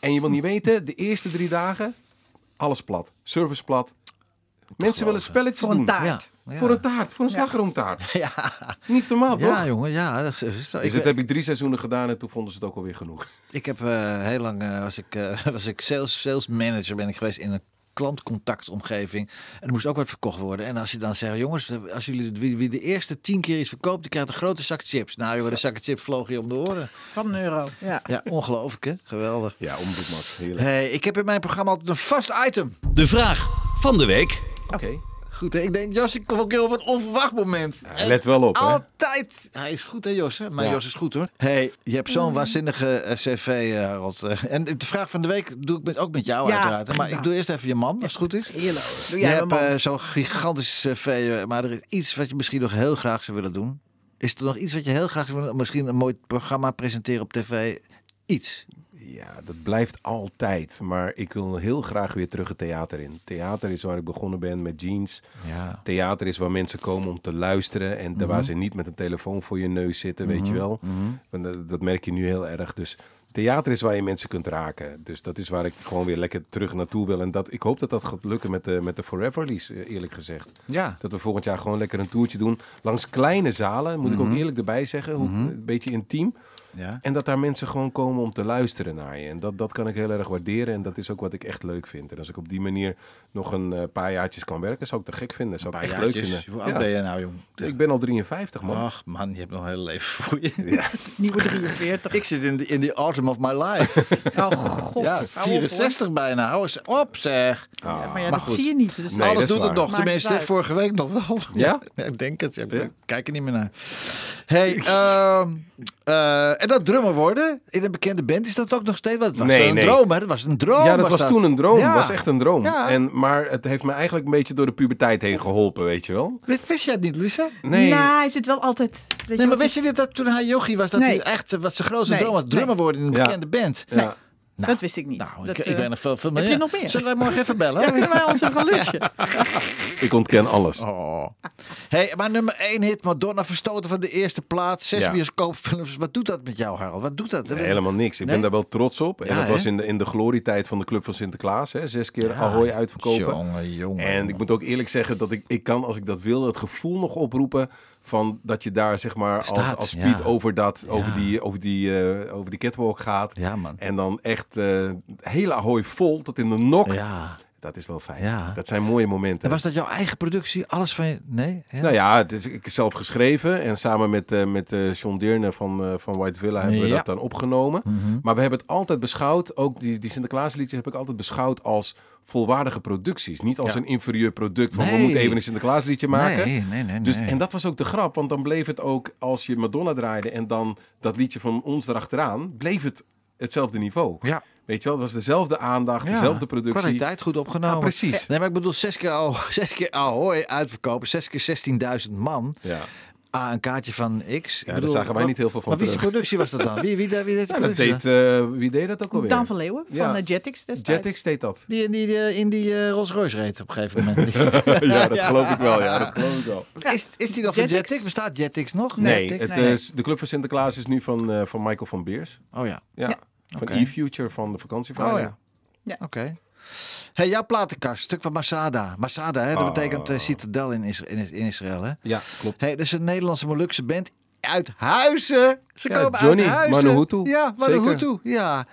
En je wil niet weten, de eerste drie dagen, alles plat. Service plat. Mensen willen spelletjes Voor een doen. taart. Ja, ja. Voor een taart, voor een slagroomtaart. Niet normaal, toch? Ja, jongen, ja. Dat is, is- Dus ik, dat heb ik drie seizoenen gedaan en toen vonden ze het ook alweer genoeg. ik heb eh, heel lang eh, was ik, eh, was ik sales, sales manager ben ik geweest in een klantcontactomgeving. En er moest ook wat verkocht worden. En als je dan zegt, jongens, eh, als jullie wie, wie de eerste tien keer iets verkoopt, die krijgt een grote zak chips. Nou, jongen, de zakken chips vlogen je om de oren. Van een euro. Ja. Ja, ongelooflijk, hè? Geweldig. Ja, omroep Max. Heerlijk. Hey, ik heb in mijn programma altijd een vast item. De vraag van de week. Oké. Goed, hè? Ik denk, Jos, ik kom ook heel op een onverwacht moment. Ja, let wel op, hè. Altijd. Hij is goed, hè, Jos? Hè? Maar Ja. Jos is goed, hoor. hey, je hebt Mm. zo'n waanzinnige eh, cv, eh, Harold. Eh, En de vraag van de week doe ik met, ook met jou, Ja, uiteraard. hè. Maar prima. ik doe eerst even je man, als het goed is. Heerlijk. Doe Je jij mijn hebt man. eh, zo'n gigantisch cv, eh, maar er is iets wat je misschien nog heel graag zou willen doen. Is er nog iets wat je heel graag zou willen Misschien een mooi programma presenteren op tv? Iets. Ja, dat blijft altijd. Maar ik wil heel graag weer terug het theater in. Theater is waar ik begonnen ben met jeans. Ja. Mhm. Theater is waar mensen komen om te luisteren. En daar waar ze niet met een telefoon voor je neus zitten, weet je wel. Want eh, dat, dat merk je nu heel erg. Dus theater is waar je mensen kunt raken. Dus dat is waar ik gewoon weer lekker terug naartoe wil. En dat, ik hoop dat dat gaat lukken met de, met de Foreverlies, eh, eerlijk gezegd. Ja. Dat we volgend Mhm. jaar gewoon lekker een toertje doen. Langs kleine zalen, moet ik ook eerlijk erbij zeggen. Hoe, Een beetje intiem. Ja. En dat daar mensen gewoon komen om te luisteren naar je. En dat, dat kan ik heel erg waarderen. En dat is ook wat ik echt leuk vind. En als ik op die manier nog een eh, paar jaartjes kan werken, zou ik te gek vinden. Zou ik echt leuk Jaartjes. vinden. Hoe oud Ja. ben je Ah. nou, jong? Ik ben al 53, man. Ach man, je hebt nog een hele leven voor je. Nieuwe 43. Ik zit in de in the autumn of my life. Oh god. ja, hou op, hoor. 64 bijna. Hou eens op zeg. Ja, maar ja, Ah, Maar dat goed. zie je niet. Dus Nee, dat Alles is doet het waar. nog. Maakt Tenminste, niet uit. vorige week nog wel. Ja? ik denk het. Ja, Ja. Ik kijk er niet meer naar. Hey, ehm, eh, en dat drummer worden in een bekende band, is dat ook nog steeds? Want het was Nee, een nee. droom, hè? Dat Oh, was een droom. ja, dat was toen een droom. Ja. was echt een droom. Ja. En, maar het heeft me eigenlijk een beetje door de puberteit heen geholpen, weet je wel. Wist, wist jij het niet, Lisa? Nee, Nou, hij zit wel altijd. Weet je Nee, maar wat- wist je dit, dat toen hij jochie was, dat Nee. hij echt eh, wat zijn grootste Nee, droom was? Drummer nee. worden in een Ja. bekende band. ja. dat wist ik niet. Nou, dat, ik, eh, ik weet nog veel, veel meer. je nog meer? Zullen wij morgen even bellen? ja, kunnen wij ons even gaan lunchen? ik ontken alles. Oh. Hey, maar nummer 1 hit, Madonna verstoten van de eerste plaats. Zes Ja. bioscoopfilms. Wat doet dat met jou, Harold? Wat doet dat? Nee, helemaal niks. Ik Nee? ben daar wel trots op. En Ja, dat was hè? in de, in de glorietijd van de Club van Sinterklaas. Hè? Zes keer Ahoy uitverkopen. Jongen, jongen. En ik moet ook eerlijk zeggen dat ik, ik kan, als ik dat wil, het gevoel nog oproepen van dat je daar zeg maar als, Staat, als ja. Piet over, dat, over, Ja. die, over, die, eh, over die catwalk gaat. Ja, man. En dan echt eh hele Ahoy vol tot in de nok. Ja. Dat is wel fijn. Ja. Dat zijn mooie momenten. En was dat jouw eigen productie? Alles van je? Nee? Ja. Nou ja, het is, ik heb zelf geschreven en samen met, eh met eh John Deerne van, eh, van White Villa hebben we Ja. Mhm. dat dan opgenomen. Maar we hebben het altijd beschouwd, ook die, die Sinterklaasliedjes heb ik altijd beschouwd als volwaardige producties. Niet als Ja. een inferieur product van Nee. we moeten even een Sinterklaasliedje maken. Nee, nee, nee, Dus, nee. en dat was ook de grap, want dan bleef het ook als je Madonna draaide en dan dat liedje van ons erachteraan, bleef het hetzelfde niveau. Ja. Weet je wel, het was dezelfde aandacht, Ja. dezelfde productie. Kwaliteit goed opgenomen. Ja, precies. Nee, maar ik bedoel, zes keer, al, zes keer Ahoy uitverkopen. Zes keer 16.000 man. Ja. Ah, een kaartje van X. Ik daar bedoel, zagen wij wat- niet heel veel van Maar wie terug. zijn productie was dat dan? Wie, wie, wie, wie deed die Ja, dat productie deed, dan? eh, wie deed dat ook alweer? Daan van Leeuwen van Ja. eh, Jetix destijds. Jetix deed dat. Die, die, die in die eh, Rolls Royce reed op een gegeven moment. ja, dat geloof ik wel. Ja, dat geloof ik wel. Is, is die nog van Jetix? Jetix? Bestaat Jetix nog? Nee, Jetix? het, nee. is- de Club van Sinterklaas is nu van, eh, van Michael van Beers. Oh ja, Ja. Ja. Van Oké. E-Future van de vakantieverhaal. Oh ja. oké. Hey, jouw platenkast, stuk van Masada. Masada, hè, dat Oh. betekent eh, citadel in, Isra- in, in Israël, hè? Ja, klopt. Hey, dat is een Nederlandse Molukse band uit Huizen. Ze Ja, komen Johnny, uit Huizen. Manuhutu. Ja, Zeker. Manuhutu. Ja.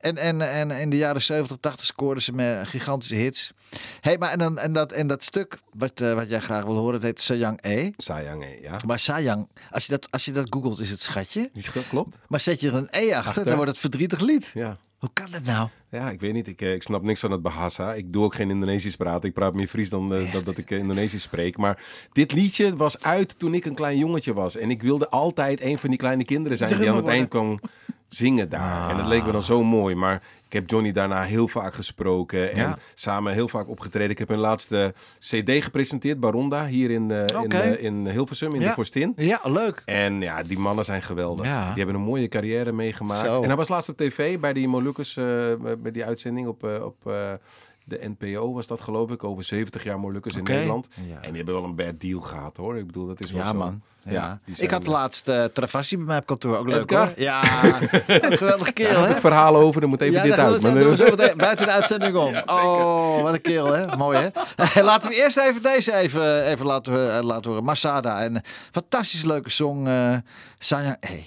En, en, en in de jaren 70, 80 scoorden ze met gigantische hits. Hey, maar en, dan, en, dat, en dat stuk wat, eh, wat jij graag wil horen, dat heet Sayang E. Sayang, hè, ja. Maar Sayang, als je, dat, als je dat googelt, is het schatje. Die scho- klopt. Maar zet je er een E achter, Achter. dan wordt het verdrietig lied. Ja. Hoe kan dat nou? Ja, ik weet niet. Ik, eh, ik snap niks van het Bahasa. Ik doe ook geen Indonesisch praten. Ik praat meer Fries dan eh, dat, dat ik eh, Indonesisch spreek. Maar dit liedje was uit toen ik een klein jongetje was. En ik wilde altijd een van die kleine kinderen zijn die aan het Drummer eind kwam zingen daar. En dat leek me dan Ah. zo mooi. Maar ik heb Johnny daarna heel vaak gesproken en Ja. samen heel vaak opgetreden. Ik heb hun laatste CD gepresenteerd, Baronda, hier in, eh, in, Oké. eh, in Hilversum, in ja. de Forstin. Ja, leuk. En ja, die mannen zijn geweldig. Ja. Die hebben een mooie carrière meegemaakt. Zo. En hij was laatst op tv bij die Molukkers, eh, bij die uitzending op, eh, op eh, de NPO was dat geloof ik. Over 70 jaar Molukkers Oké. in Nederland. Ja. En die hebben wel een bad deal gehad hoor. Ik bedoel, dat is wel Ja, zo. man. Ja. die zijn- ik had laatst eh Travassi bij mij op kantoor. Ook leuk Edgar? hoor. Ja, ook geweldige kerel Daar hè. heb ik verhalen over, dan moet even ja, dit daar uit. doen Maar, we- doen we eh, zo meteen buiten de uitzending om. oh, wat een kerel hè. Mooi hè. laten we eerst even deze even, even laten, we, eh, laten horen. Masada. Een fantastisch leuke song. eh Sanya E.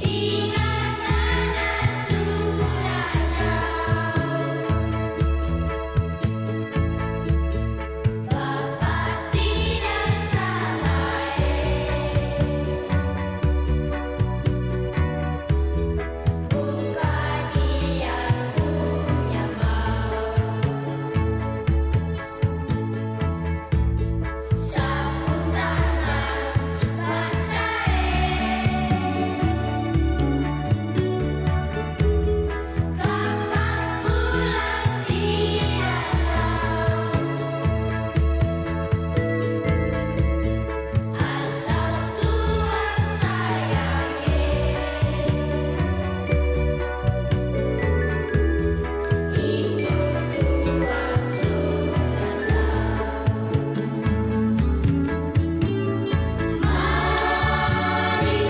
Ingat tanah sudah jauh Bapak tidak salah Bukan dia punya mau Sapu tangan bahasa Kapan pulang dia tahu Asal Tuhan sayangi Itu Tuhan sudah tahu Mari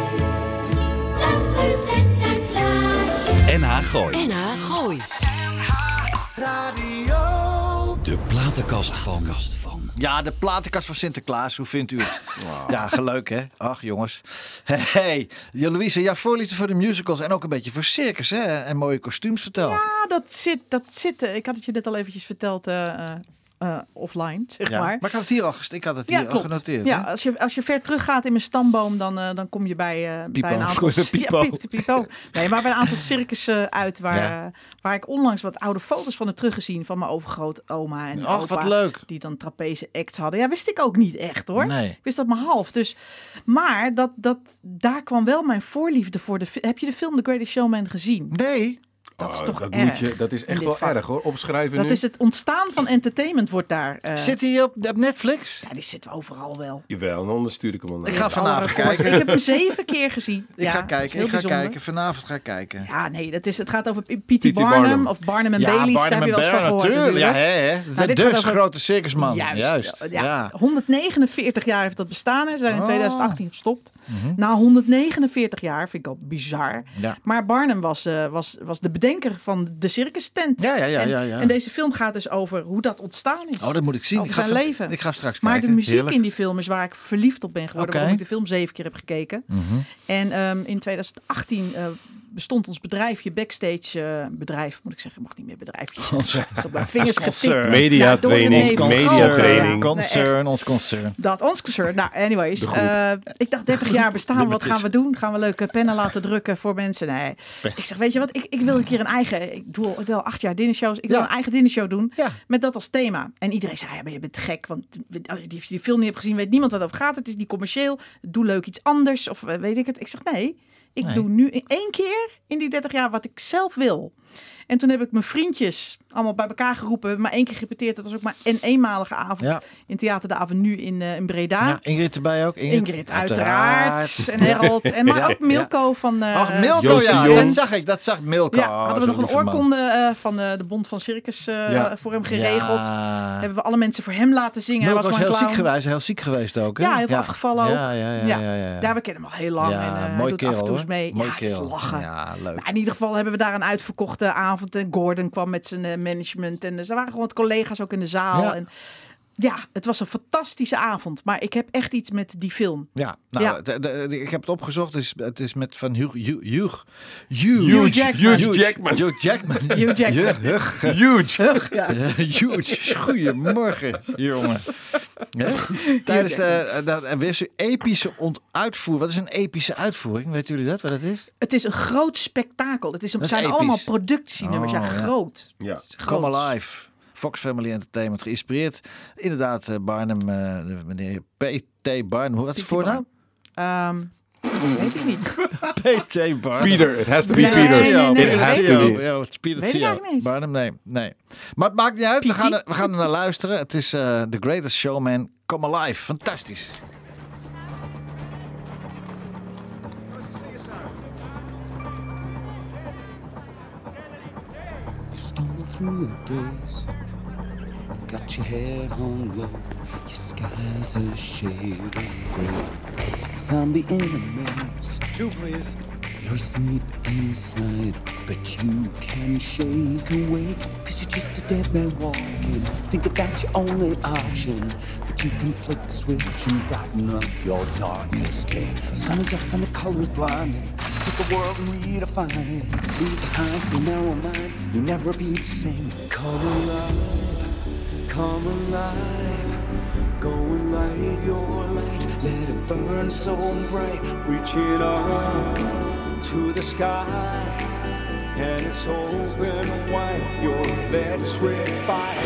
Dank u, Sinterklaas. NH Gooi. NH Gooi. De platenkast van. Ja, de platenkast van Sinterklaas, hoe vindt u het? Ja, geleuk hè? Ach jongens. Hey, Louise, jouw voorliefde voor de musicals en ook een beetje voor circus hè? En mooie kostuums, vertel. Ja, dat zit, dat zit. eh, Ik had het je net al eventjes verteld eh, eh, eh, offline, zeg Ja, maar. ik had het hier al, gest- ik had het Ja, hier al klopt. genoteerd. ja, hè? als je, als je ver teruggaat in mijn stamboom, dan, eh, dan kom je bij, eh Pipo. bij een aantal... Ja, Pipo. piep- Pipo. Nee, maar bij een aantal circussen uit waar, Ja. eh, waar ik onlangs wat oude foto's van heb teruggezien van mijn overgrootoma en Ach, opa. wat leuk. Die dan trapeze acts hadden. Ja, wist ik ook niet echt hoor. Nee. Ik wist dat maar half. Dus, maar dat, dat, daar kwam wel mijn voorliefde voor. De, fi- heb je de film The Greatest Showman gezien? Nee. Dat is Oh, toch dat, erg. moet je, dat is in echt dit wel vak. erg hoor. Opschrijven Dat nu. is het ontstaan van entertainment wordt daar. eh, Zit hij op, op Netflix? Ja, die zitten overal wel. Jawel, dan stuur ik hem al naar. Ik ga vanavond Alle records. kijken. Ik heb hem zeven keer gezien. Ik Ja, ga dat is kijken, heel ik ga bijzonder. kijken. Vanavond ga ik kijken. Ja, nee, dat is, het gaat over P- P.T. P.T. Barnum, Barnum. of Barnum en Bailey. Daar heb je wel eens van gehoord. natuurlijk. Ja, natuurlijk. hè, hè. Nou, de dit gaat dus over- grote circusman. Juist. Ja, Ja. 149 jaar heeft dat bestaan. en Ze zijn in Oh. 2018 gestopt. Na 149 jaar vind ik al bizar. Mhm. Ja. Maar Barnum was, eh, was, was de bedenker van de circus tent. Ja, ja, ja, en, ja, ja. en deze film gaat dus over hoe dat ontstaan is. Oh, dat moet ik zien. Over Ik ga zijn stra- leven. Ik ga straks Maar kijken. de muziek Heerlijk. in die film is waar ik verliefd op ben geworden. Oké. Mhm. Waarom ik de film zeven keer heb gekeken. En ehm, in 2018 eh, bestond ons bedrijfje Backstage. eh, bedrijf, moet ik zeggen, mag niet meer bedrijfje zeggen. Ik heb mijn vingers Concern. getikt. Media Ja, door de training, nevel. media Oh, ja. training. Nee, echt. Concern, ons concern. Dat, ons concern. Nou, anyways. eh, ik dacht, 30 jaar bestaan, wat gaan we doen? Gaan we leuke pennen laten drukken voor mensen? Nee. Ik zeg, weet je wat, ik, ik wil een keer een eigen... Ik doe al, ik doe al acht jaar dinnershows. Ik wil Ja. een eigen dinnershow doen Ja. met dat als thema. En iedereen zei, ja, maar je bent gek, want als je die, die film niet hebt gezien... weet niemand wat het over gaat. Het is niet commercieel. Doe leuk iets anders of eh, weet ik het. Ik zeg, nee, ik Nee. doe nu in één keer in die 30 jaar wat ik zelf wil. En toen heb ik mijn vriendjes allemaal bij elkaar geroepen. We hebben maar één keer gerepeteerd. Dat was ook maar een eenmalige avond Ja. in Theater de Avenue in, eh, in Breda. Ja, Ingrid erbij ook. Ingrid, Ingrid, uiteraard. En Harold. En maar ook Milko van... eh Ach, Milko, Joost de ja. Jong. Dat zag ik, dat zag Milko. Ja, Oh, hadden we nog zo'n een lieve man. oorkonde eh, van eh, de Bond van Circus eh, Ja. voor hem geregeld. Ja. Hebben we alle mensen voor hem laten zingen. Milko Hij was was maar een heel clown. ziek geweest, heel ziek geweest ook. Hè? Ja, heel veel afgevallen ook. Ja, ja, ja. ja, ja, ja. we kennen hem al heel lang. Ja, en, eh, hij mooi doet af kerel, en toe eens hoor. mee. Mooi ja, het is kerel. lachen. Ja, leuk. Nou, in ieder geval hebben we daar een uitverkochte avond avond. En Gordon kwam met zijn eh, management. En er waren gewoon wat collega's ook in de zaal. Ja. En ja, het was een fantastische avond. Maar ik heb echt iets met die film. Ja, nou, Ja. de- de- de- ik heb het opgezocht. Het is, het is met van Hugh... Hugh, Hugh, Hugh Jackman. Hugh Jackman. Hugh Jackman. Hugh Jackman. Hugh, Huge! Ja. Huge. Goedemorgen, jongen. Hè? Tijdens de, eh, dat er weer zo'n epische ont- uitvoer. Wat is een epische uitvoering? Weet jullie dat, wat het is? Het is een groot spektakel. Het is, Dat het is zijn episch. allemaal productienummers. Oh, ja, ja. groot. Ja. Het is Come groot. Alive. Fox Family Entertainment geïnspireerd. Inderdaad, eh, Barnum, eh, de meneer P.T. Barnum. Hoe- Wat is de P.T. voornaam? Ehm, weet ik niet. P.T. Barnum. Peter, it has to be Nee, Peter. nee, nee, it nee, has nee, to nee. be. Ja, het is Peter Weet ik Theo. eigenlijk niet. Barnum, nee, nee. Maar het maakt niet uit. We Pietie. gaan, er, we gaan er naar luisteren. Het is eh The Greatest Showman Come Alive. Fantastisch. You stumble through your days. Got your head hung low. Your sky's a shade of gray. Like a zombie in a maze. Two, please. You're asleep inside, but you can shake awake. Cause you're just a dead man walking. Think about your only option. But you can flick the switch and brighten up your darkest day. Sun is up and the colors blinding. Take the world and redefine it. Leave behind your narrow mind. You'll never be the same. Come alive, come alive. Go and light your light. Let it burn so bright. Reach it up to the sky. And it's open wide. Your bed is lit fire.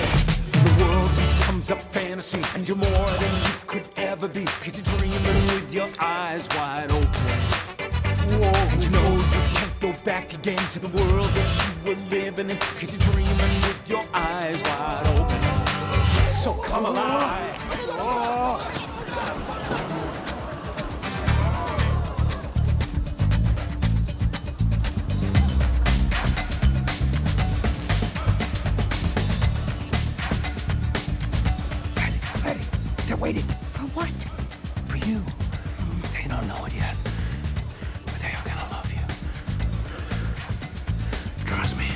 The world becomes a fantasy, and you're more than you could ever be. Cause you're dreaming with your eyes wide open. And you know you can't go back again to the world that you were living in. Cause you're dreaming with your eyes wide open. So come alive. Ready? They're waiting. For what? For you. They don't know it yet. But they are gonna love you. Trust me.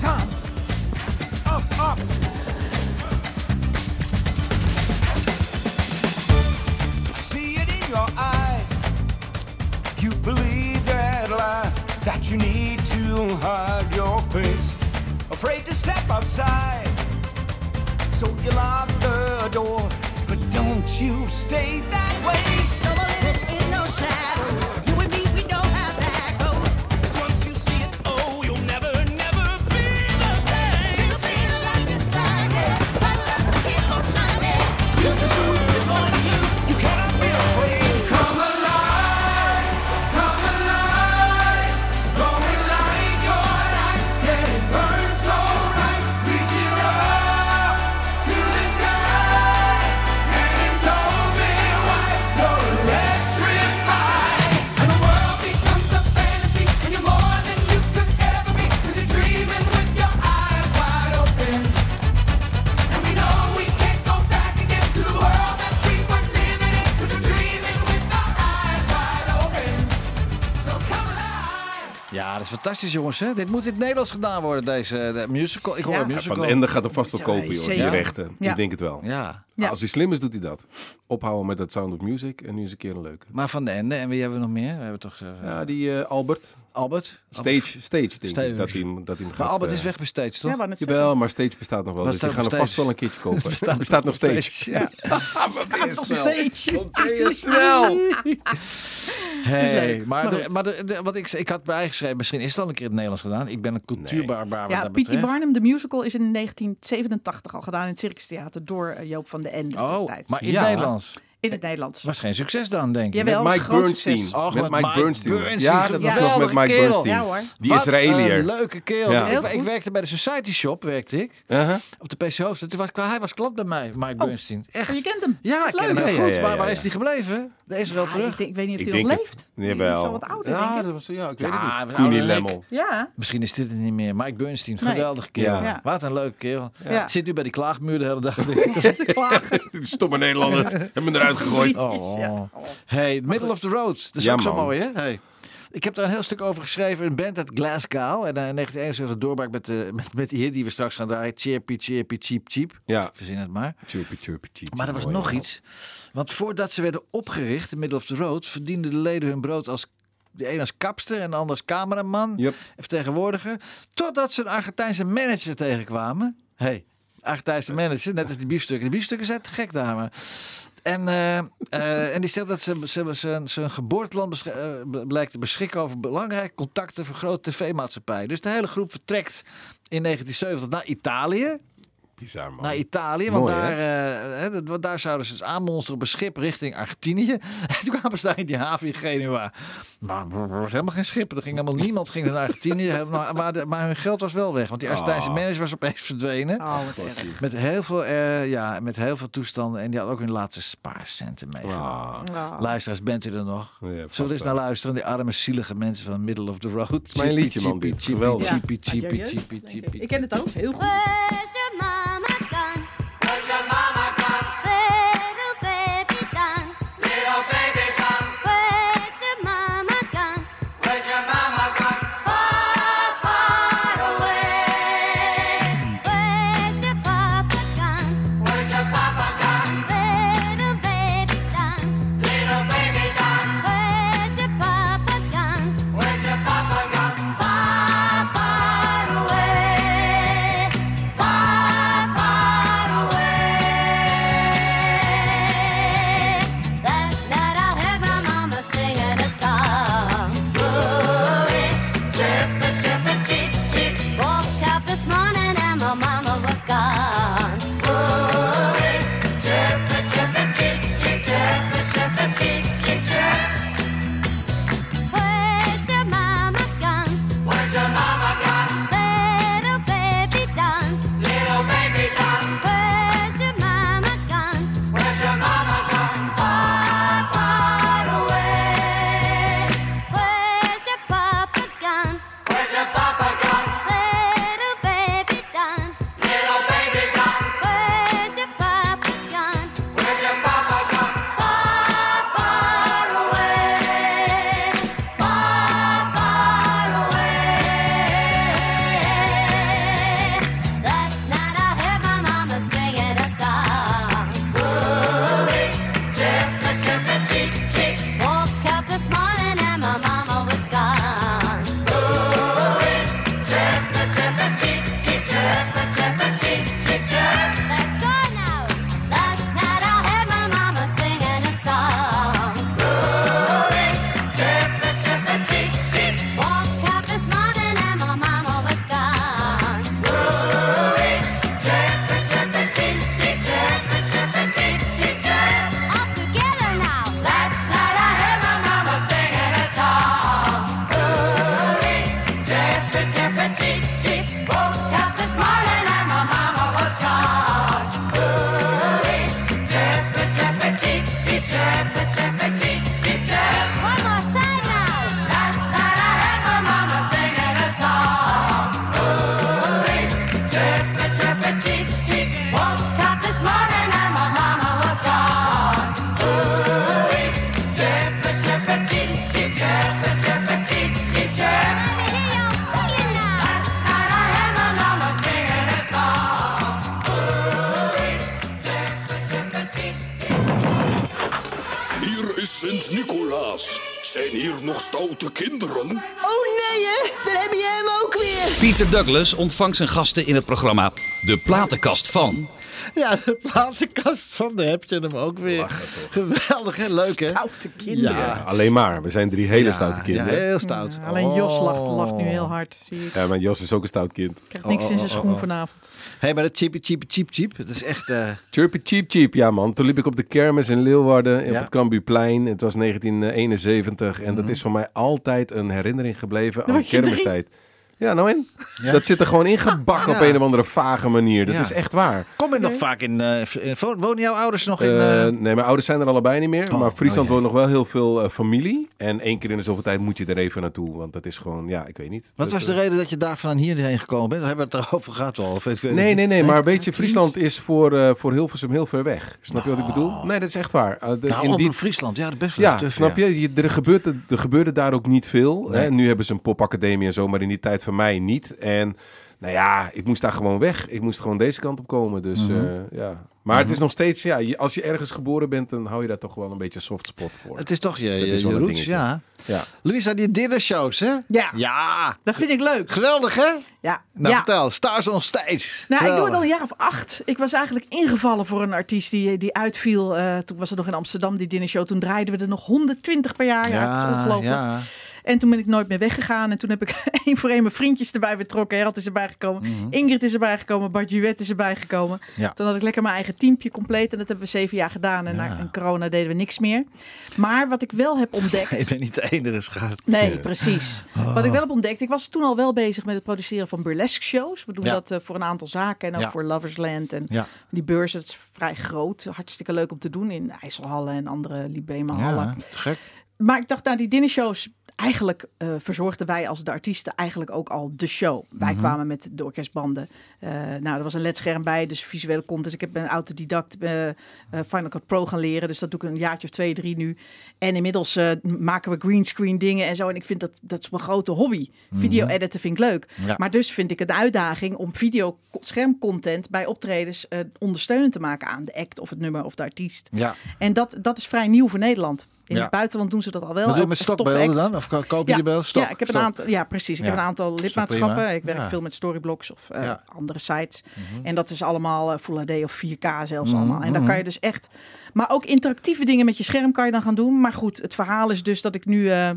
Tom! Up, up! See it in your eyes. You believe that lie that you need to hide your face. Afraid to step outside, so you lock the door. But don't you stay that way. No more living in no shadows. You and me, we know how that goes. 'Cause once you see it, oh, you'll never, never be the same. Little bit of light is shining. Our love will keep on shining. You cannot be afraid. Come alive, come alive. Go and light your light. Let it burn so bright. Reach it up to the sky. And it's open wide. You're electrified. And the world becomes a fantasy. And you're more than you could ever be. Cause you're dreaming with your eyes wide open. And we know we can't go back again to the world that we were living in. we we're dreaming with our eyes wide open. So come alive. Ja, dat is fantastisch, jongens. Hè? Dit moet in het Nederlands gedaan worden, deze de musical. Ik hoor Ja. een Ja, Van musical. den Ende gaat hem vast wel Zo, kopen, joh, die zeker. rechten. Ja. Ik denk het wel. Ja, Ja. Als hij slim is, doet hij dat. Ophouden met dat Sound of Music en nu eens een keer een leuke. maar Van de Ende. En wie hebben we nog meer? We hebben toch eh, Ja, die eh, Albert. Albert. Stage, stage denk ik, Stage. dat hij hem- dat hij hem gaat... Maar Albert eh, is wegbesteed, toch? Ja, wat het Jawel, maar Stage bestaat nog wel. Wat dus staat die gaan nog hem vast steeds? wel een keertje kopen. Het bestaat, nog steeds. Ja. staat nog steeds. Hey, leuk. maar Maar de- goed. maar de- de- wat ik, ik had bijgeschreven, misschien is het dan een keer in het Nederlands gedaan. Ik ben een cultuurbarbaar wat Ja, dat P.T. betreft. Barnum, de musical, is in 1987 al gedaan in het Circus Theater door eh, Joop van den Ende Oh, destijds. maar in Ja. het Nederlands. In het Nederlands. was geen succes dan, denk ik. Jawel, Mike het is een groot Bernstein. succes. Och, met Mike Bernstein. Ja, dat was nog Geweldige met Mike kerel. Bernstein. Ja hoor. Die Wat Israëliër. een leuke kerel. Ja. Heel Ik, ik goed. werkte bij de Society Shop, werkte ik. Uh-huh. Op de PC Hoofdstad. Toen was, ik- hij was klant bij mij, Mike Bernstein. Echt. Oh, je kent hem. Ja, Wat ik ken leuk. hem heel Ja, ja, goed. ja, maar ja, waar ja. is hij gebleven? De is er wel Ja, terug. Ah, ik, denk, ik weet niet of Ik hij nog denk leeft. het. Die is Jawel. al wat ouder, Ja, denk ik. dat was... Ja, ik Ja, weet hij het was niet. ouder Coenie dan ik. Lemmel. Ja, Misschien is dit het niet meer. Mike Bernstein, Nee. geweldige kerel. Ja. Wat een leuke kerel. Ja. Zit nu bij die klaagmuur de hele dag. klagen. Die Stomme Nederlanders. Hebben hem uitgegooid. Oh. Ja. Hey, Middle of the Road. Dat is Ja, ook zo man. mooi, hè? Hey. Ik heb daar een heel stuk over geschreven. Een band uit Glasgow. En eh, in 1971 een doorbraak met, eh, met, met die hit die we straks gaan draaien. Chirpy, chirpy, cheap, cheap. Ja. Verzin het maar. Chirpy, chirpy, chirpy. Maar er was Mooi, nog man. iets. Want voordat ze werden opgericht, in Middle of the Road, verdienden de leden hun brood als de een als kapster en de ander als cameraman, Yep. en vertegenwoordiger. Totdat ze een Argentijnse manager tegenkwamen. Hé, hey, Argentijnse manager, net als die biefstukken. De biefstukken zijn te gek daar, maar. En, eh, eh, en die zegt dat ze, ze, ze, ze hun geboorteland besch- eh, bl- blijkt te beschikken over belangrijke contacten voor grote tv-maatschappij. Dus de hele groep vertrekt in 1970 naar Italië. Bizar, man. Naar Italië, want Mooi, hè? daar, eh, hè, dat- want daar zouden ze dus aanmonsteren op een schip richting Argentinië. En toen kwamen ze daar in die haven in Genua. Maar er was helemaal geen schip. Er ging helemaal niemand ging naar Argentinië. Maar, maar, de- maar hun geld was wel weg, want die Argentijnse Ah. manager was opeens verdwenen. Oh, wat erg. Met heel, veel, eh, ja, met heel veel toestanden. En die had ook hun laatste spaarcenten meegenomen. Ah. Oh. Luisteraars, bent u er nog? Ja, Zullen we vast er eens wel. naar luisteren? Die arme, zielige mensen van Middle of the Road. Het mijn liedje, man, dit. Geweldig. Ja, uit jouw jeugd, denk ik. Ik ken het ook heel goed. Where's your mama gone? Where's your mama gone? Little baby gone. Little baby gone. Where's your mama gone? Where's your mama gone? Far, far away. Where's your papa gone? Where's your papa gone? Little baby gone. Little baby gone. Where's your papa gone? Where's your papa gone? Far, far away. Far, far away. Last night I heard my mama singing a song. Ooh, chippa, chippa, cheep, cheep. Woke up this morning and my mama was gone. Ooh, chippa, chippa, cheep, cheep, chippa, chippa, cheep, cheep, chip. Where's your mama gone? Where's your mama gone? Little baby done. Little baby done. Where's your mama gone? Where's your mama gone? Far, far away. Where's your papa gone? Where's your papa gone? Little baby done. Little baby gone. Where's your papa gone? Where's your papa gone? Far, far away. Far, far away. Last night I heard my mama singing a song. Ooh-wee, chippa, chippa, cheep, cheep. Woke up this morning and my mama was gone. Ooh-wee, chippa, chippa, cheep, cheep, chippa, chippa, cheep, cheep, chip. Let's go now. Last night I heard my mama singing a song. Ooh-wee, chippa, chippa, cheep, cheep. Woke up this morning and my mama was gone. Ooh-wee, chippa, chippa, cheep, cheep, chippa, chippa, cheep, cheep, chip. All together now. Last night I heard my mama singing a song. Ooh-wee, chippa, chippa, cheep, cheep. Woke up this morning and my mama was gone. Ooh-wee, chippa, chippa, cheep, cheep, chippa, chippa, cheep, cheep, chip. One more time now. Last night I heard my mama singing a song. Ooh-wee, chippa, chippa, cheep, cheep. Woke up this morning and my mama was gone. Ooh-wee, chippa, chippa, cheep, cheep, chippa, chippa, cheep, cheep, chip. Let me hear y'all singing now. Last night I heard my mama singing a song. Ooh-wee, chippa, chippa, cheep, cheep. Hier is Sint-Nicolaas. Zijn hier nog stoute kinderen? Oh nee, hè? Daar heb je hem ook weer. Pieter Douglas ontvangt zijn gasten in het programma De Platenkast van. Ja, de platenkast van de heb je hem ook weer. Geweldig en leuk, hè? Stoute kinderen. Ja. Ja, alleen maar. We zijn drie hele Ja, stoute Ja, kinderen. Ja, heel stout. Ja, Mm, alleen Jos lacht, lacht nu heel Oh. hard, zie ik. maar Jos is ook een stout kind. Krijgt niks in zijn schoen vanavond. hey, maar dat cheapy, cheapy, cheap, cheap. Dat is echt... eh, Chirpy Cheap Cheap, ja man. Toen liep ik op de kermis in Leeuwarden Ja. Mhm. op het Cambuurplein. Het was 1971 en dat is voor mij altijd een herinnering gebleven aan was je kermistijd. Ja, nou in. Dat zit er gewoon ingebakken op Ja. een of andere vage manier. Dat Ja. is echt waar. Kom je nog vaak in... eh, in wo- wonen jouw ouders nog in... Eh, eh, nee, mijn ouders zijn er allebei niet meer. Oh, maar Friesland oh, ja. woont nog wel heel veel eh, familie. En één keer in de zoveel tijd moet je er even naartoe. Want dat is gewoon, ja, ik weet niet. wat Dat, was de eh, reden dat je daar van hierheen gekomen bent? We hebben we het erover gehad al. Of weet- weet ik Nee, niet. nee, nee. Maar weet je, Friesland is voor, eh, voor Hilversum heel ver weg. Snap je wat ik bedoel? Nee, dat is echt waar. Eh, de- Nou, in ook die, in Friesland. Ja, best wel ja, even tussen, snap ja. je? je er, gebeurde, er gebeurde daar ook niet veel. Nee. Hè? Nu hebben ze een popacademie en zo, maar in die tijd van mij niet. En nou ja, ik moest daar gewoon weg. Ik moest gewoon deze kant op komen. Dus eh, ja. Maar het is nog steeds, ja, je- als je ergens geboren bent, dan hou je daar toch wel een beetje soft spot voor. Het is toch je, je, Dat is wel je een roots, dingetje. ja. Ja. Louisa, die dinnershows, hè? Ja. Ja. Dat vind ik leuk. Geweldig, hè? Ja. Nou, ja. vertel. Stars on Stage. Nou, ik doe Geweldig. het al een jaar of acht. Ik was eigenlijk ingevallen voor een artiest die, die uitviel. Eh, toen was het nog in Amsterdam, die dinnershow. Toen draaiden we er nog 120 per jaar. Ja, het is ongelooflijk. ja. En toen ben ik nooit meer weggegaan. En toen heb ik één voor één mijn vriendjes erbij betrokken. Herald is erbij gekomen. Ingrid is erbij gekomen. Bart Juwet is erbij gekomen. Mhm. Ja. Toen had ik lekker mijn eigen teampje compleet. En dat hebben we zeven jaar gedaan. En na en corona deden we niks meer. Maar wat ik wel heb Ik ontdekt... ben niet de enige schat. Nee, precies. Oh. Wat ik wel heb ontdekt, ik was toen al wel bezig met het produceren van burlesque shows. We doen Ja. dat eh, voor een aantal zaken en ook Ja. voor Loversland en Ja. die beurs. Het is vrij groot, hartstikke leuk om te doen in IJsselhallen en andere Libema-hallen. Ja, te gek. Maar ik dacht, nou, die dinnershows. Eigenlijk eh, verzorgden wij als de artiesten eigenlijk ook al de show. Wij kwamen met de orkestbanden. Eh, nou, er was een ledscherm bij, dus visuele content. Ik heb een autodidact eh, eh, Final Cut Pro gaan leren. Dus dat doe ik een jaartje of twee, drie nu. En inmiddels eh, maken we greenscreen dingen en zo. En ik vind dat, dat is mijn grote hobby. Video editen vind ik leuk. Ja. Maar dus vind ik het een uitdaging om video schermcontent bij optredens eh, ondersteunend te maken aan de act of het nummer of de artiest. Ja. En dat, dat is vrij nieuw voor Nederland. In Ja. het buitenland doen ze dat al wel. Wat doe je Ook met echt toffe stokbeelden acts. dan? Of ko- koop je Ja, die beelden? Stok, ja, ik heb stok. een aantal, ja, precies. Ik Ja. heb een aantal prima. lidmaatschappen. Ik werk Ja. veel met storyblocks of eh, Ja. Mhm. andere sites. En dat is allemaal eh, Full HD of 4K zelfs allemaal. En dan kan je dus echt... Maar ook interactieve dingen met je scherm kan je dan gaan doen. Maar goed, het verhaal is dus dat ik nu eh,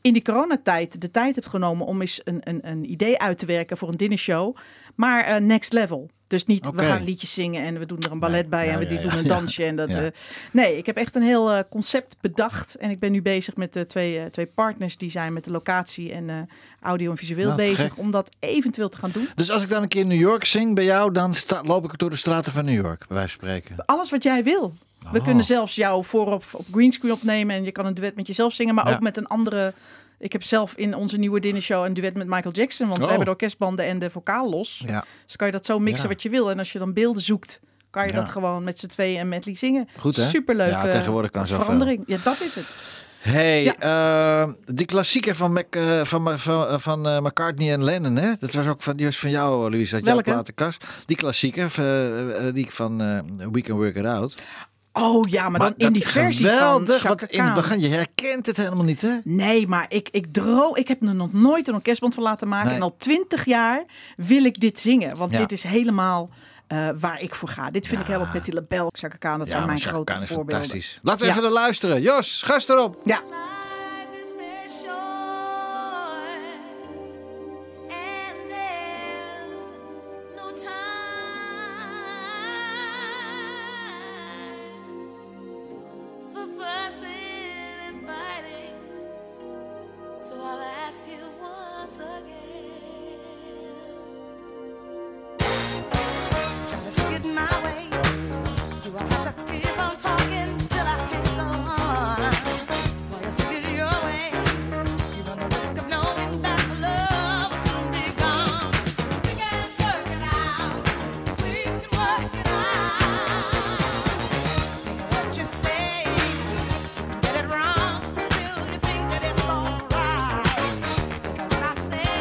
in die coronatijd de tijd heb genomen... om eens een, een, een idee uit te werken voor een dinnershow. Maar eh, next level. Dus niet, Oké. we gaan liedjes zingen en we doen er een ballet bij Ja, en we ja, die ja. doen een Ja. dansje. En dat, Ja. eh, nee, ik heb echt een heel eh, concept bedacht. En ik ben nu bezig met eh, twee, eh, twee partners die zijn met de locatie en eh, audio en visueel Nou, te bezig. gek. Om dat eventueel te gaan doen. Dus als ik dan een keer in New York zing bij jou, dan sta- loop ik door de straten van New York, bij wijze van spreken. Alles wat jij wil. We Oh. kunnen zelfs jou voorop op greenscreen opnemen. En je kan een duet met jezelf zingen, maar Ja. ook met een andere... Ik heb zelf in onze nieuwe dinnershow een duet met Michael Jackson. Want Oh. we hebben de orkestbanden en de vocaal los. Ja. Dus kan je dat zo mixen Ja. wat je wil. En als je dan beelden zoekt, kan je Ja. dat gewoon met z'n tweeën en medley zingen. Goed, hè? Superleuk. Ja, eh, tegenwoordig kan zoveel. Verandering. Ja, dat is het. Hey, Ja. eh, die klassieker van, Mac, eh, van, Ma- van, eh, van eh, McCartney en Lennon, hè? Dat was ook van, die was van jou, eh, Louise, uit jouw Welke? platenkast. Die klassieker, eh, eh, die van eh, We Can Work It Out. Oh ja, maar, dan in dat die versie geweldig, van want Chaka in het Khan. begin, je herkent het helemaal niet, hè? Nee, maar ik, ik droom. Ik heb er nog nooit een orkestband van laten maken. Nee. En al twintig jaar wil ik dit zingen. Want Ja. dit is helemaal eh, waar ik voor ga. Dit vind ik helemaal Patti LaBelle, Chaka Khan. Dat zijn maar mijn Chaka grote Khan is voorbeelden. fantastisch. Laten we Ja. even naar luisteren. Jos, gast erop. Ja. Life is very short, and there's no time for fussing and fighting. So I'll ask you once again. Try to see it my way. Do I have to keep on talking till I can't go on? While you see it your way, you run the risk of knowing that my love will soon be gone. We can work it out. We can work it out. Think of what you say, you get it wrong, but still you think that it's alright. Think of what I say,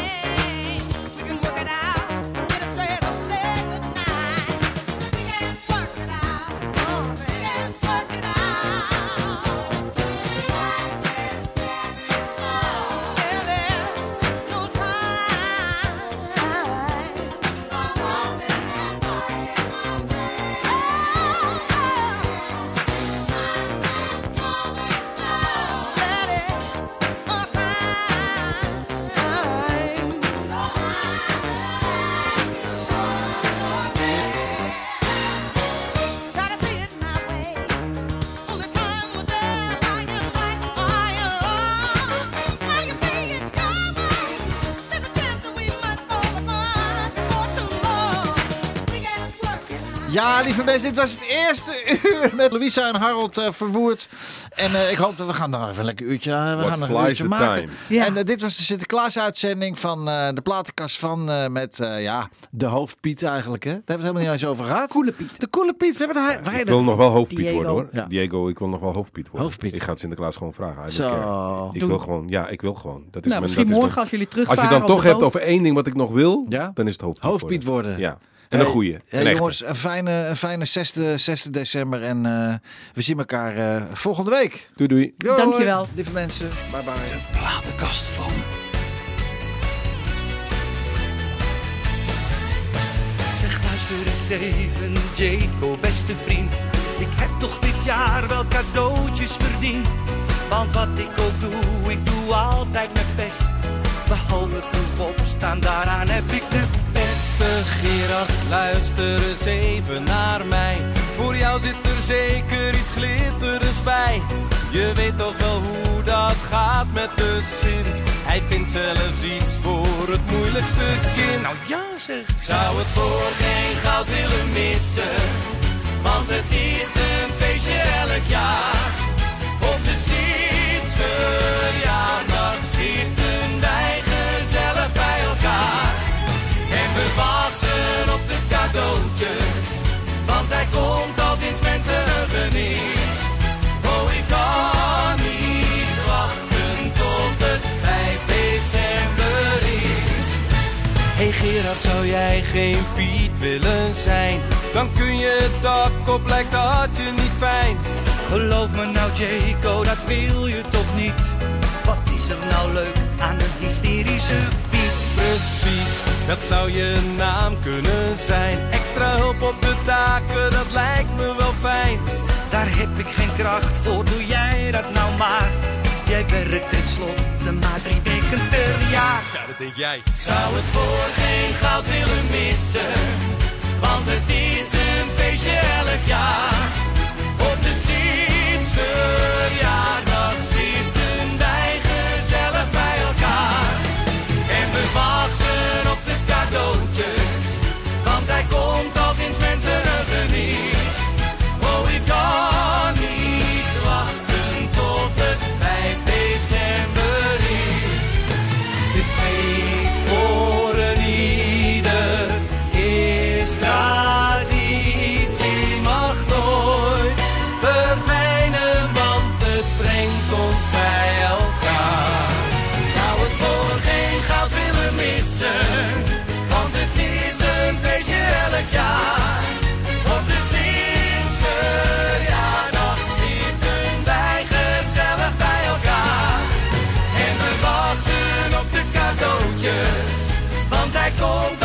Ja, lieve mensen, dit was het eerste uur met Louisa en Harold eh, Verwoerd. En eh, ik hoop dat we gaan nog even een lekker uurtje, eh, we What gaan nog een flies uurtje the maken. time. Ja. En eh, dit was de Sinterklaas-uitzending van eh, de platenkast van eh, met eh, ja, de hoofdpiet eigenlijk. Hè? Daar hebben we het helemaal niet eens over gehad. Koele Piet. De koele Piet. We hebben de, wij Ik wil nog wel hoofdpiet Diego. worden hoor. Ja. Diego, ik wil nog wel hoofdpiet worden. Hoofdpiet. Ik ga het Sinterklaas gewoon vragen. I don't Zo. care. eh, Ik Doe. wil gewoon, ja, ik wil gewoon. Dat is Nou, mijn- misschien dat is morgen mijn- als jullie Als terugvaren je dan op de toch hebt boot. over één ding wat ik nog wil, Ja? dan is het hoofdpiet, Hoofdpiet worden. Ja. En een Hey, goeie. eh, Een echte. jongens, een fijne, een fijne 6e, 6e december. En eh, we zien elkaar eh, volgende week. Doei doei. Doei, Dankjewel. Lieve mensen, bye bye. De platenkast van. Zeg luister eens even, Jaco, beste vriend. Ik heb toch dit jaar wel cadeautjes verdiend. Want wat ik ook doe, ik doe altijd mijn best. Behalve toen opstaan, daaraan heb ik de beste Gerard. Luister eens even naar mij. Voor jou zit er zeker iets glitterends bij. Je weet toch wel hoe dat gaat met de Sint. Hij vindt zelfs iets voor het moeilijkste kind. Nou ja zeg. Zou het voor geen goud willen missen. Want het is een feestje elk jaar. Op de Sins verjaardag zitten wij gezellig bij elkaar. En we wachten op de cadeautjes, want hij komt al sinds mensengenis. Oh, ik kan niet wachten tot het 5 december is. Hey Gerard, zou jij geen Piet willen zijn? Dan kun je het dak op, lijkt dat je niet fijn. Geloof me nou, Jaco, dat wil je toch niet? Wat is er nou leuk aan een hysterische Piet? Precies, dat zou je naam kunnen zijn. Extra hulp op de taken, dat lijkt me wel fijn. Daar heb ik geen kracht voor, doe jij dat nou maar. Jij werkt tenslotte maar drie weken per jaar. Zou het voor geen goud willen missen, want het is een feestje elk jaar. Op de Sins verjaardag zitten wij gezellig bij elkaar. En we wachten op de cadeautjes, want hij komt al sinds mensen een genies. Oh, ik kan niet wachten tot het 5 december is. Dit feest voor een ieder is traditie, mag nooit verdwijnen, want het brengt ons bij elkaar. Zou het voor geen goud willen missen, want het is een feestje elk jaar. Op de Sint-verjaardag zitten wij gezellig bij elkaar. En we wachten op de cadeautjes, want hij komt Oh,